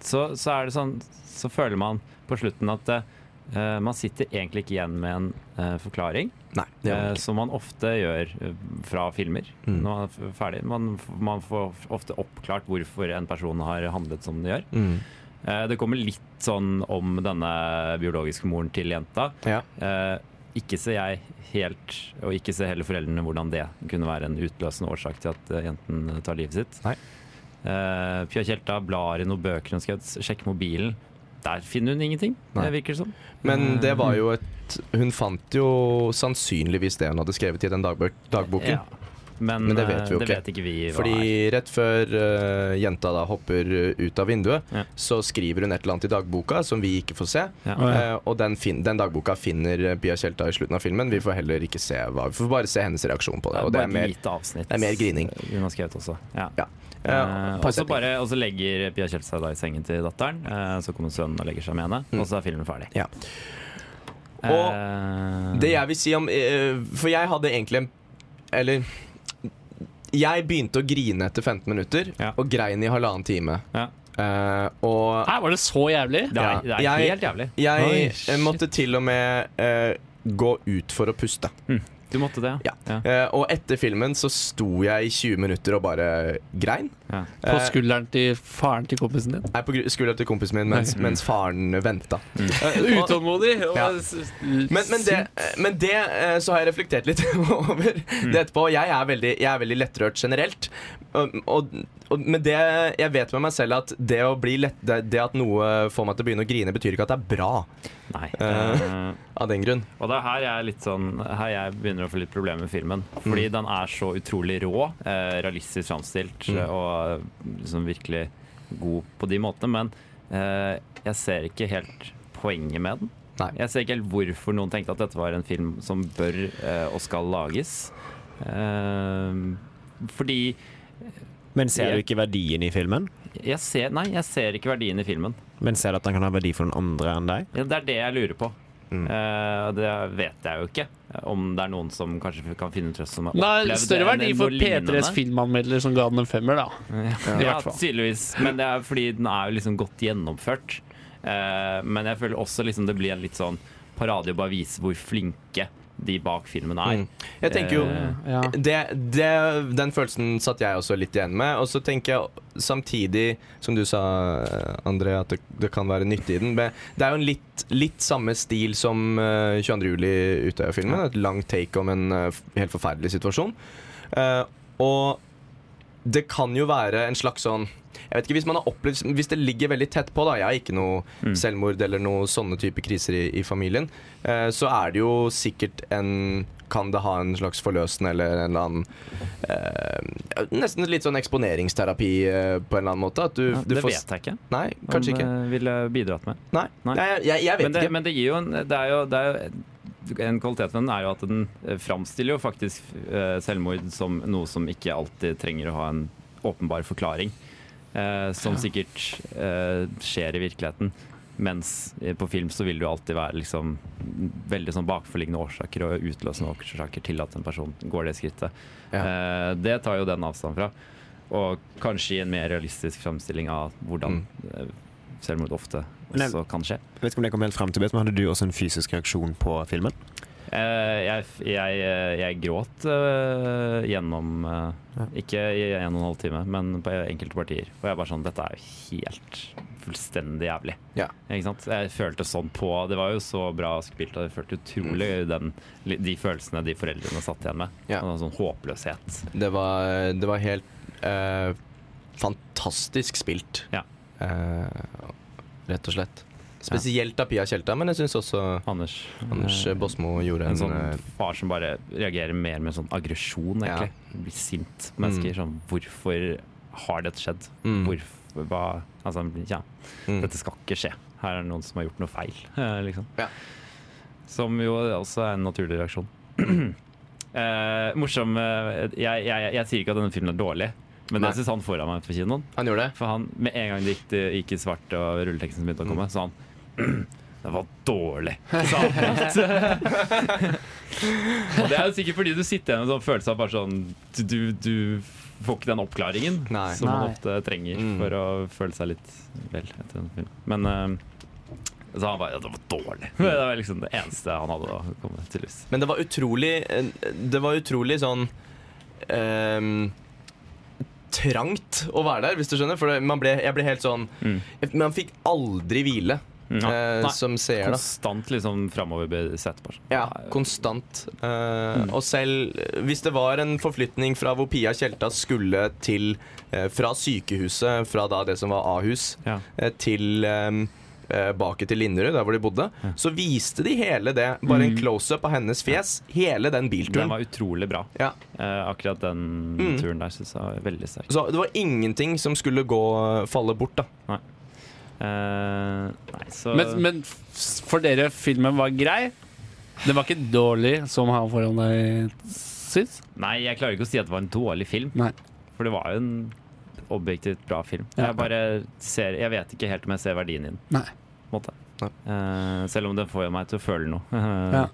C: så, så er det sånn Så føler man på slutten at eh, man sitter egentlig ikke igjen med en eh, forklaring,
A: Nei, det var
C: eh,
A: det ikke.
C: som man ofte gjør eh, fra filmer
A: Mm.
C: når man er f- ferdig. Man, f- man får ofte oppklart hvorfor en person har handlet som den gjør.
A: Mm.
C: Eh, det kommer litt sånn om denne biologiske moren til jenta.
A: Ja.
C: Eh, ikke ser jeg helt, og ikke ser heller foreldrene, hvordan det kunne være en utløsende årsak til at eh, jenten tar livet sitt.
A: Nei.
C: Eh, Pia Tjelta blar i noen bøker hun skrev, sjekker mobilen. Der finner hun ingenting,
A: Nei.
C: det virker det som. Mm.
A: Men det var jo et Hun fant jo sannsynligvis det hun hadde skrevet i den dagbøk, dagboken.
C: Ja. Men,
A: Men det vet vi
C: eh,
A: jo ikke.
C: det vet ikke vi hva er.
A: Fordi rett før eh, jenta da hopper eh, ut av vinduet,
C: Ja.
A: så skriver hun et eller annet i dagboka som vi ikke får se.
C: Ja.
A: Eh, og den, fin den dagboka finner eh, Pia Tjelta i slutten av filmen. Vi får heller ikke se hva Vi får bare se hennes reaksjon på det. Og det
C: bare
A: er
C: et
A: mer,
C: lite avsnitt.
A: det er mer grining.
C: Hun har skrevet også. Ja. Eh,
A: Ja. Eh,
C: og så
A: passetning.
C: bare- og så legger Pia Kjell seg da i sengen til datteren. eh, så kommer sønnen og legger seg med henne, og så er filmen ferdig.
A: Mm. Ja.
C: Eh,
A: Det jeg vil si om eh, For jeg hadde egentlig en Eller Jeg begynte å grine etter 15 minutter,
C: Ja.
A: og grein i halvannen time.
C: ja. Ah,
A: Eh, og
B: Her var det så jævlig.
C: Det er,
A: Ja.
C: det er
A: Jeg-
C: helt jævlig.
A: jeg
B: Oi,
A: eh, måtte til og med eh, gå ut for å puste.
C: Du måtte det?
A: Ja.
C: ja.
A: Eh, og etter filmen så sto jeg i 20 minutter og bare grein.
C: ja.
B: På
A: Eh,
B: skulderen til faren til kompisen din.
A: Jeg er på gru- skuldra til kompisen min mens,
C: Nei.
A: mens faren venta. Eh, og-
B: Utålmodig. og
A: Ja.
B: s- s-
A: Men, men, det, men det eh, så har jeg reflektert litt <laughs> over det etterpå. Jeg er veldig, jeg er veldig lettrørt generelt. Og, og, og, men det jeg vet med meg selv, at det, å bli lett, det, det at noe får meg til å begynne å grine, betyr ikke at det er bra
C: Nei.
A: Eh.
C: Eh,
A: av den grunn.
C: Og det er her jeg, er litt sånn, her jeg begynner å få litt problemer med filmen. Fordi den er så utrolig rå, eh, realistisk framstilt eh,
A: Mm.
C: og liksom eh, virkelig god på de måtene. Men eh, jeg ser ikke helt poenget med den.
A: Nei.
C: Jeg ser ikke helt hvorfor noen tenkte at dette var en film som bør eh, og skal lages. Eh, fordi
D: Men ser
C: Ja.
D: du ikke verdien i filmen?
C: jeg ser Nei, jeg ser ikke verdien i filmen.
D: Men ser du at den kan ha verdi for noen andre enn deg?
C: Ja, det er det jeg lurer på.
A: Mm.
C: Eh, og det vet jeg jo ikke. Om det er noen som kanskje kan finne trøst som har
B: Det er
C: opplevd
B: større
C: en-
B: verdi
C: en
B: for
C: noe lignende.
B: P3s filmanmelder som ga den en femmer, da. <laughs> I
C: Ja,
B: hvert fall.
C: tydeligvis. Men det er fordi den er jo liksom godt gjennomført. Eh, men jeg føler også liksom det blir en litt sånn parade å bare vise hvor flinke de bak filmen er.
A: Mm. Jeg tenker jo
C: Eh,
B: Ja.
A: det, det, Den følelsen satt jeg også litt igjen med. Og så tenker jeg samtidig, som du sa, André, at det, det kan være nyttig i den. Men det er jo en litt, litt samme stil som eh, 22. juli Utøya-filmen. Et langt take om en eh, f- helt forferdelig situasjon. Eh, og det kan jo være en slags sånn jeg vet ikke, Hvis man har opplevd, hvis det ligger veldig tett på, da, jeg har ikke noe
C: Mm.
A: selvmord eller noe sånne type kriser i, i familien, eh, så er det jo sikkert en Kan det ha en slags forløsende eller en eller annen eh, Nesten litt sånn eksponeringsterapi eh, på en eller annen måte. At du,
C: ja,
A: du
C: det
A: får
C: vet jeg ikke.
A: Nei, kanskje
C: om
A: ikke.
C: det ville bidratt med.
A: Nei,
C: nei.
A: Nei, jeg, jeg, jeg vet
C: Men det,
A: ikke.
C: men det gir jo en Det er jo, det er jo en kvalitet ved den er jo at den eh, framstiller jo faktisk eh, selvmord som noe som ikke alltid trenger å ha en åpenbar forklaring. eh, som sikkert eh, skjer i virkeligheten. Mens eh, på film så vil det jo alltid være liksom veldig sånn bakforliggende årsaker og utløsende årsaker til at en person går det skrittet. Eh, det tar jo den avstand fra. Og kanskje i en mer realistisk framstilling av
A: Mm.
C: hvordan eh, selvmord ofte
D: Men-
C: også kan skje.
D: Jeg vet ikke om det kom helt frem til Beth, men Hadde du også en fysisk reaksjon på filmen?
C: Eh, jeg, jeg, jeg gråt eh, gjennom eh, Ikke i en og en halv time, men på enkelte partier. Og jeg bare sånn Dette er jo helt fullstendig jævlig.
A: Ja.
C: Ikke sant? Jeg følte sånn på Det var jo så bra spilt, og jeg følte utrolig den, de følelsene de foreldrene satt igjen med.
A: Mm. Ja.
C: Og Sånn håpløshet.
A: Det var, det var helt eh, fantastisk spilt.
C: Ja.
A: Eh, rett og slett. Spesielt av Pia Tjelta, men jeg syns også
C: Anders.
A: Anders
C: eh,
A: Båsmo gjorde en,
C: en sånn
A: eh,
C: far som bare reagerer mer med sånn aggresjon,
A: Ja.
C: egentlig. Blir sint på mennesker. Sånn Hvorfor har dette skjedd?
A: Mm.
C: Hvorfor hva, Altså, ja.
A: mm.
C: Dette skal ikke skje. Her er det noen som har gjort noe feil. <laughs> eh, Liksom.
A: Ja.
C: Som jo også er en naturlig reaksjon. <clears throat> eh, morsom eh, jeg, jeg, jeg sier ikke at denne filmen er dårlig, men
A: Nei.
C: det syns han foran meg på kinoen.
A: Han gjorde det?
C: For han, med en gang det gikk, det gikk i svart og rulleteksten begynte å
A: Mm.
C: komme, sa han <clears throat> Det var
A: <laughs>
C: dårlig! Sa han. <laughs> og det er jo sikkert fordi du sitter igjen med en sånn følelse av bare sånn du- Du, du får ikke den oppklaringen
A: Nei.
C: som man
B: Nei.
C: ofte trenger
A: Mm.
C: for å føle seg litt vel etter en film. Men eh, så han bare ja, Det var dårlig!
A: Mm.
C: <laughs> Det var liksom det eneste han hadde å komme med, tydeligvis.
A: Men det var utrolig eh, Det var utrolig sånn ehm, Trangt å være der, hvis du skjønner. For det- man ble, jeg ble helt sånn
C: Mm.
A: Man fikk aldri hvile
C: Mm. Ja.
A: eh,
C: Nei.
A: som seer, da.
C: Konstant liksom framoverbesett.
A: Ja, konstant. Eh, Og selv hvis det var en forflytning fra hvor Pia Tjelta skulle til eh, Fra sykehuset, fra da det som var Ahus,
C: Ja.
A: eh, til um, Bake til Linderud, der hvor de bodde, så viste de hele det. Bare en close-up av hennes fjes. Hele den
C: Den
A: bilturen.
C: var utrolig bra.
A: Ja.
C: Eh, akkurat den
A: Mm.
C: turen der syns jeg var veldig sterk.
A: Så det var ingenting som skulle gå falle bort, da.
C: Eh, nei, så
B: Men, men f- for dere, filmen var grei. Den var ikke dårlig, som han foran deg syns.
C: Nei, jeg klarer ikke å si at det var en dårlig film.
B: Nei.
C: For det var jo en objektivt bra film.
B: Ja.
C: Jeg bare ser Jeg vet ikke helt om jeg ser verdien i den.
B: Nei.
C: på en Måte.
A: Nei.
C: Eh, selv om den får jo meg til å føle noe. <laughs> eh,
B: Ja.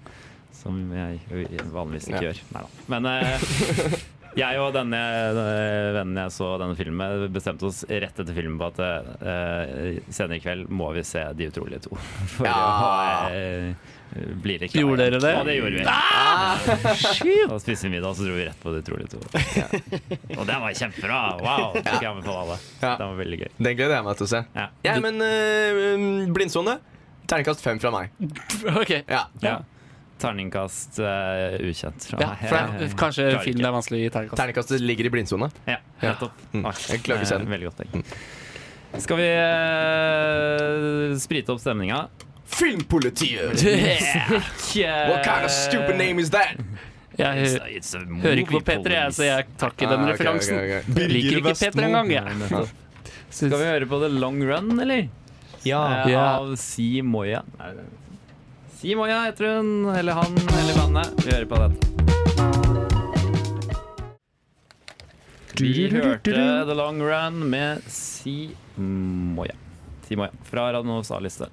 C: Som jeg jo vanligvis ikke
A: Ja.
C: gjør. Neida. Men eh, jeg og denne, denne vennen jeg så denne filmen med, bestemte oss rett etter filmen på at eh, senere i kveld må vi se De utrolige to. <laughs> For å
A: Ja.
C: eh, bli litt
B: Gjorde dere det?
C: Ja, det gjorde vi. Da spiste vi middag, så dro vi rett på De utrolige to. Og den var kjempebra! Wow! Det kan jeg anbefale alle.
A: Ja.
C: Den var veldig gøy.
A: Den gleder jeg meg til å se.
C: Ja.
A: Ja, men eh, blindsone. Terningkast fem fra meg.
B: OK.
A: Ja.
C: Ja. Terningkast eh, ukjent fra
B: Ja,
C: meg.
B: for det,
C: Jeg-
B: kanskje
C: klarer
B: filmen
C: ikke.
B: er vanskelig i terningkast.
A: Terningkastet ligger i blindsone.
C: Ja, nettopp.
A: Mm.
C: Takk.
A: Jeg klarer ikke å se
C: Eh,
A: den.
C: Veldig godt poeng. Skal vi eh, sprite opp stemninga?
A: Filmpolitiet!
C: Yeah.
A: What kind of stupid name is that?
B: <laughs> Jeg hø- hører ikke på P3, jeg, så jeg tar ikke den
A: Ah, ok,
B: referansen.
A: ok, ok.
B: Jeg Liker ikke
A: Birger
B: P3 engang, jeg.
C: Skal vi høre på The Long Run, eller?
A: Ja.
C: Eh,
B: Ja.
C: Av Si Moya. Simoya heter hun, eller han, eller bandet. Vi hører på dette. Vi hørte The Long Run med Simoya. Simoya fra Radio Novas A-liste.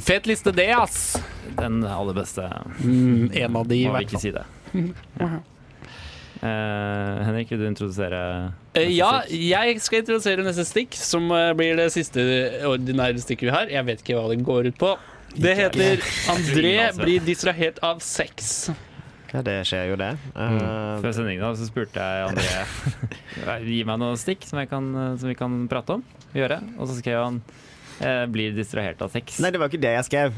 B: Fet liste, det, ass!
C: Den aller beste.
B: Mm, en av de, i
C: Må vi
B: hvert
C: ikke
B: fall.
C: si det. Eh, Henrik, vil du introdusere
B: Eh, Ja,
C: neste stikk?
B: jeg skal introdusere neste stikk, som eh, blir det siste ordinære stikket vi har. Jeg vet ikke hva det går ut på. Det heter 'André blir distrahert av sex'.
D: Ja, det skjer jo, det. Eh,
C: Før sendingen da, så spurte jeg André
B: <laughs>
C: Gi meg noen stikk som, jeg kan, som vi kan prate om Gjøre Og så skrev han eh, Blir distrahert av sex
D: nei,
C: Nei,
D: det var ikke det jeg skrev.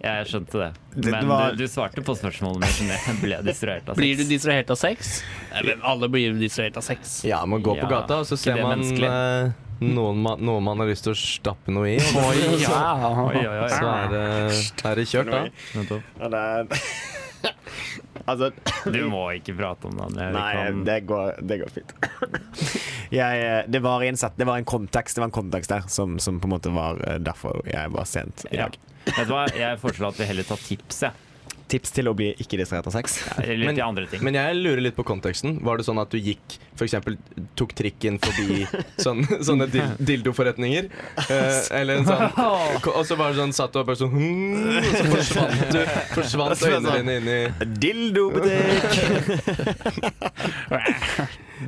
C: jeg skjønte det
D: Det
C: Men
D: var-
C: du, du svarte på spørsmålet mitt Med ble jeg distrahert av sex
B: Blir du distrahert av sex? Nei, men alle blir distrahert av sex.
A: Ja, man går på
C: Ja,
A: gata, og så
C: ikke
A: ser
C: det
A: man
C: menneskelig?
A: eh, noen, man, noe man har lyst til å stappe noe i. og
B: Oi, ja.
C: Oi, oi,
A: Så
C: oi
A: er det, er det kjørt, da.
C: Nettopp.
D: Ja, det... <laughs> altså
C: Du må ikke prate om det André. Vi
D: Nei,
C: kan-
D: det går, det går fint. <laughs> jeg, eh, det, var i en set, det var en kontekst Det var en kontekst der som, som på en måte var eh, derfor jeg var sent i
C: ja.
D: dag.
C: Vet du hva, jeg foreslår at vi heller tar tips jeg.
D: Tips til å bli ikke distrahert av sex.
C: Eller
A: Men-
C: til andre ting
A: Men jeg lurer litt på konteksten. Var det sånn at du gikk, f.eks. tok trikken <laughs> forbi sånn, sånne dil dildoforretninger? Eh, eller
B: <laughs>
A: en sånn Og så var det sånn satt du og bare sånn <laughs> hmm, Og så forsvant du <laughs> Forsvant øynene dine inn i
D: Dildobutikk! <laughs>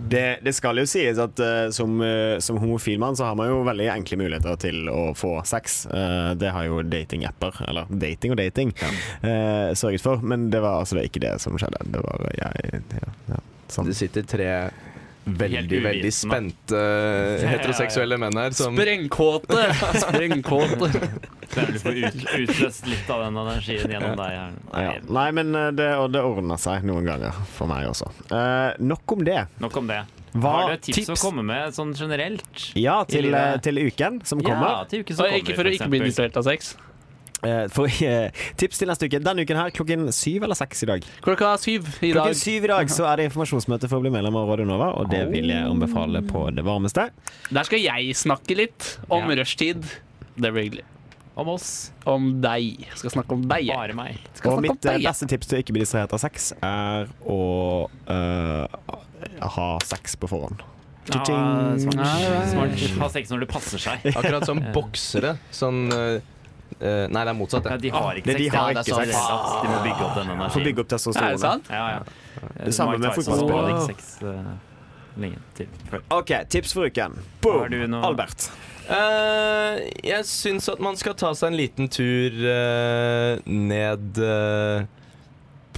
D: det, det skal jo sies at eh, som, eh, som homofil mann så har man jo veldig enkle muligheter til å få sex. Eh, det har jo datingapper, eller dating og dating, eh, sørget for. Men det var altså det er ikke det som skjedde. Det var eh, jeg ja, ja, sånn.
A: Det sitter tre
C: Helt
A: veldig,
C: uvitende.
A: veldig spente heteroseksuelle menn her som
B: Sprengkåte! Sprengkåte.
C: Det er vel for ut, utløst litt av den energien gjennom deg her.
D: Ja. Nei, men eh, det, og det ordna seg noen ganger for meg også. Eh, nok om det.
C: Nok om det
D: Hva
C: Har du et tips,
D: tips?
C: å komme med sånn generelt?
D: Ja,
C: I
D: til,
C: livet.
D: eh, til uken som kommer.
C: Ja, til uken som
B: Og
C: kommer,
B: ikke for å ikke
C: eksempel.
B: bli distrahert av sex.
D: Eh, for, eh, tips til neste uke. Denne uken her klokken syv eller seks i dag.
B: Klokka syv i dag.
D: Klokken syv i dag så er det informasjonsmøte for å bli medlem av Radio Nova, og det vil jeg anbefale på det varmeste.
B: Der skal jeg snakke litt om
C: Ja.
B: rushtid. Det blir hyggelig.
C: Om oss.
B: Om deg. Jeg skal snakke om deg. jeg.
C: Bare meg.
B: Skal
D: Og
B: snakke om
D: mitt eh,
B: deg, jeg.
D: beste tips til å ikke bli distrahert av sex, er å eh, ha sex på forhånd.
C: Ja,
D: Cha-ching.
C: Ah, smart.
B: Nei, nei, nei.
C: smart. Ha sex når det passer seg.
A: <laughs> Akkurat
C: <laughs>
A: som boksere. Sånn eh, eh, Nei, det er motsatt.
C: Ja,
A: det.
C: de har ikke
D: Det-
C: sex.
D: de
C: ja,
D: har
C: det er
D: ikke
C: så
D: sex.
C: relevant. De må bygge opp den energien.
D: For å bygge opp
B: Er det
D: testosteronet.
B: sant?
C: Ja, ja.
D: Det samme
C: Mike
D: med
C: Tyson
D: fotball.
C: hadde ikke sex eh, lenge til. før.
D: OK, tips for uken.
C: Har
D: Boom!
C: du noe-
D: Albert.
A: Eh, jeg syns at man skal ta seg en liten tur eh, ned eh,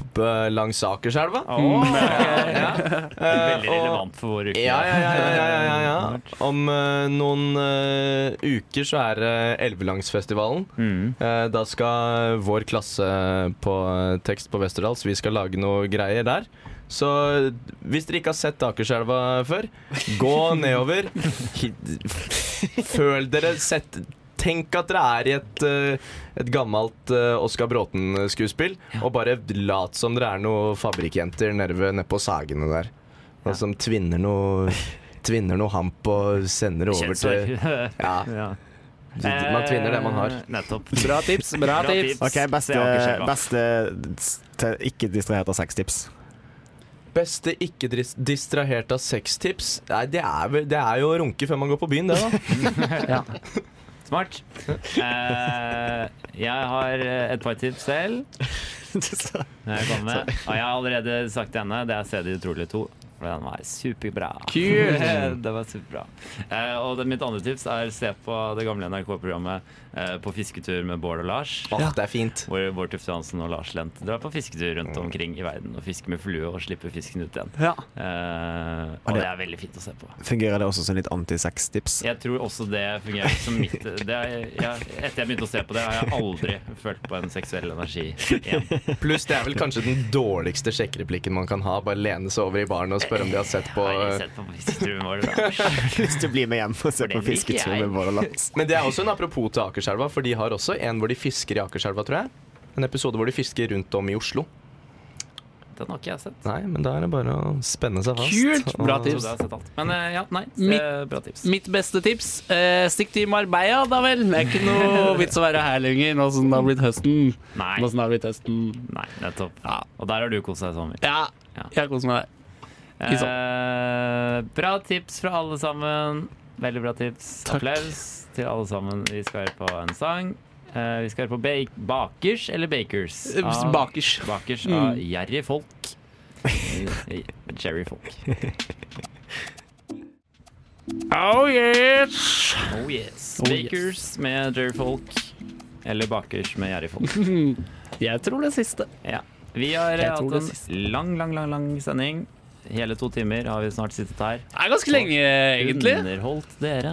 A: p- langs Akerselva.
C: Åh,
A: Ja. Eh,
C: Veldig
A: og-
C: relevant for vår uke.
A: Ja, ja, ja, ja, ja, ja, ja. Om eh, noen eh, uker så er det Elvelangsfestivalen.
C: Mm.
A: Eh, da skal vår klasse på eh, tekst på Westerdals Vi skal lage noe greier der. Så hvis dere ikke har sett Akerselva før, gå nedover. Hi- Føl dere sett Tenk at dere er i et, eh, et gammelt eh, Oscar Bråten-skuespill, og bare lat som dere er noen fabrikkjenter nede ved- nede på Sagene der. Og som tvinner noe, tvinner noe hamp og sender det over
C: <laughs>
A: til
C: Kjønnsorg.
A: Ja,
C: Ja.
A: man tvinner det man har.
C: Eh, Nettopp.
B: Bra tips, bra
C: Bra
B: tips.
C: tips.
D: OK,
C: Det
D: beste,
C: har ikke skjedd, da.
D: beste s- til ikke distrahert av
C: <laughs>
D: sex-tips.
A: Beste ikke dis distrahert av sextips? Nei, det er, vel, det er jo å runke før man går på byen, det,
C: <laughs>
A: da.
C: Smart. Eh, jeg har eh, et par tips selv. Jeg, kommer med. Og jeg har allerede sagt til henne det er Se de utrolige to. For den var superbra.
B: Kult.
C: <laughs> det var superbra. Eh, og det, mitt andre tips er se på det gamle NRK-programmet eh, På fisketur med Bård og Lars.
A: Åh, det er fint.
C: Hvor Bård Tufte Hansen og Lars Lent drar på fisketur rundt omkring i verden og fisker med flue og slipper fisken ut igjen.
B: Ja.
C: Eh, og det er veldig fint å se på.
D: Fungerer det også som litt anti-sex-tips?
C: Jeg tror også det fungerer som mitt det er, jeg, Etter jeg begynte å se på det, har jeg aldri følt på en seksuell energi igjen.
A: Pluss det er vel kanskje den dårligste sjekkereplikken man kan ha. Bare lene seg over i baren og spørre om de har sett på
C: Jeg har sett på fisketuren vår. da.
D: Lyst til å bli med hjem og se
C: For det
D: på
C: liker
D: fisketur
C: jeg.
D: med Bård og Lars.
A: Men det er også en apropos til Akerselva, for de har også en hvor de fisker i Akerselva, tror jeg. En episode hvor de fisker rundt om i Oslo.
C: Den har ikke jeg sett.
A: Nei, men da er det bare å spenne seg fast.
B: Kult! Bra
A: og-
C: Jeg trodde jeg
B: tips.
C: hadde sett alt. Men eh, ja, nei.
B: Mitt-
C: eh, Bra tips.
B: Mitt beste tips eh, stikk til Marbella, da vel. Det er ikke noe vits å være her lenger nå som det har blitt høsten.
C: Nei.
B: Nå som det har blitt høsten.
C: nei, nettopp.
B: Ja.
C: Og der har du kost deg, Samuel.
B: Ja,
C: Ja.
B: jeg koser meg der. Ikke
C: Eh, bra tips fra alle sammen. Veldig bra tips.
B: Takk.
C: Applaus til alle sammen. Vi skal høre på en sang. Eh, vi skal høre på ba Bakers eller Bakers?
B: Eh,
C: Av-
B: Bakers.
C: Bakers
B: Mm.
C: av Jerry Folk. Eh, Jerry Folk.
B: Oh yes!
C: Oh yes.
B: Oh, yes.
C: Bakers med Jerry Folk. Eller Bakers med Jerry Folk.
B: Jeg tror det siste.
C: <laughs> Ja. Vi har
B: Jeg
C: eh,
B: tror
C: hatt
B: det
C: en
B: siste.
C: lang, lang, lang, lang sending. Hele to timer har vi snart sittet her.
B: Det er ganske lenge, egentlig.
C: Underholdt dere.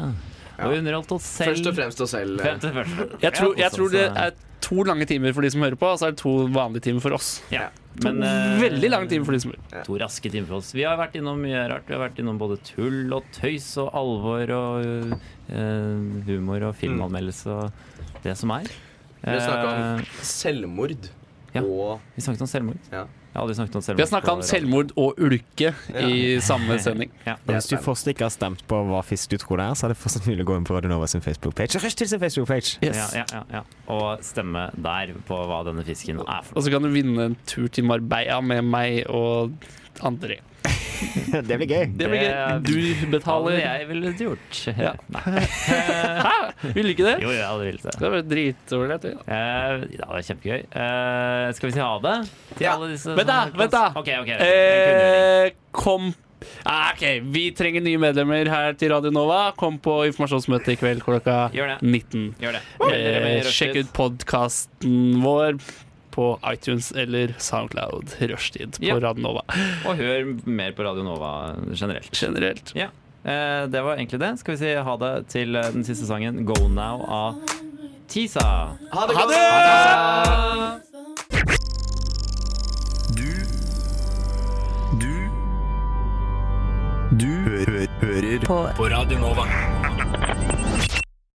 C: Og underholdt oss selv.
F: Først og fremst oss selv.
C: Frem til første.
B: Jeg
C: Ja, altså,
B: tror, jeg tror det
C: så-
B: er to lange timer for de som hører på, og så er det to vanlige timer for oss.
C: ja.
B: To
C: Men, eh,
B: veldig lange timer for de som hører på.
C: To raske timer for oss. Vi har vært innom mye rart. Vi har vært innom både tull og tøys og alvor og eh, humor og filmanmeldelse og det som er.
F: Vi har snakket
C: Eh,
F: Selvmord
C: Ja.
F: og
C: vi snakket om selvmord.
F: Ja.
C: Jeg har aldri snakket om selvmord.
B: Vi har snakka om
C: på radio.
B: selvmord og ulke i samme sending.
E: Og hvis du fortsatt ikke har stemt på hva fisk du tror det er, så er det fortsatt mulig å gå inn på Radionova sin Facebook-page. Og rush til sin
C: <laughs>
E: Facebook-page!
B: <laughs> Yes.
C: Ja, ja, ja, ja. Og stemme der på hva denne fisken er for
B: Og så kan du vinne en tur til Marbella med meg og André.
E: Det blir gøy.
B: Det blir gøy. Du
C: Hadde
B: betaler.
C: jeg ville gjort.
B: Ja.
C: <laughs> Nei.
B: Hæ? Vil du ikke det?
C: Jo, jeg hadde villet det.
B: Det var dritålreit. ja.
C: Eh, ja, det er kjempegøy. Eh, skal vi si ha det? Til
F: Ja.
C: alle disse
B: Vent da,
C: som-
B: vent da.
C: Ok, ok. En kunngjøring.
B: Eh, kom ah, OK, vi trenger nye medlemmer her til Radio Nova. Kom på informasjonsmøte i kveld klokka
C: Gjør det.
B: 19.
C: Gjør det. Melder dere med i
B: Eh,
C: rushtid.
B: sjekk ut podkasten vår på iTunes eller Soundcloud. Rushtid på
C: Ja.
B: Radio Nova
C: Og hør mer på Radio Nova generelt.
B: generelt.
C: Ja. Eh, det var egentlig det. Skal vi si ha det til eh, den siste sangen, 'Go Now' av Tisa.
F: Ha det!
B: Ha
F: godt!
B: det!
G: Du Du Du hø hø hører på. på Radio Nova.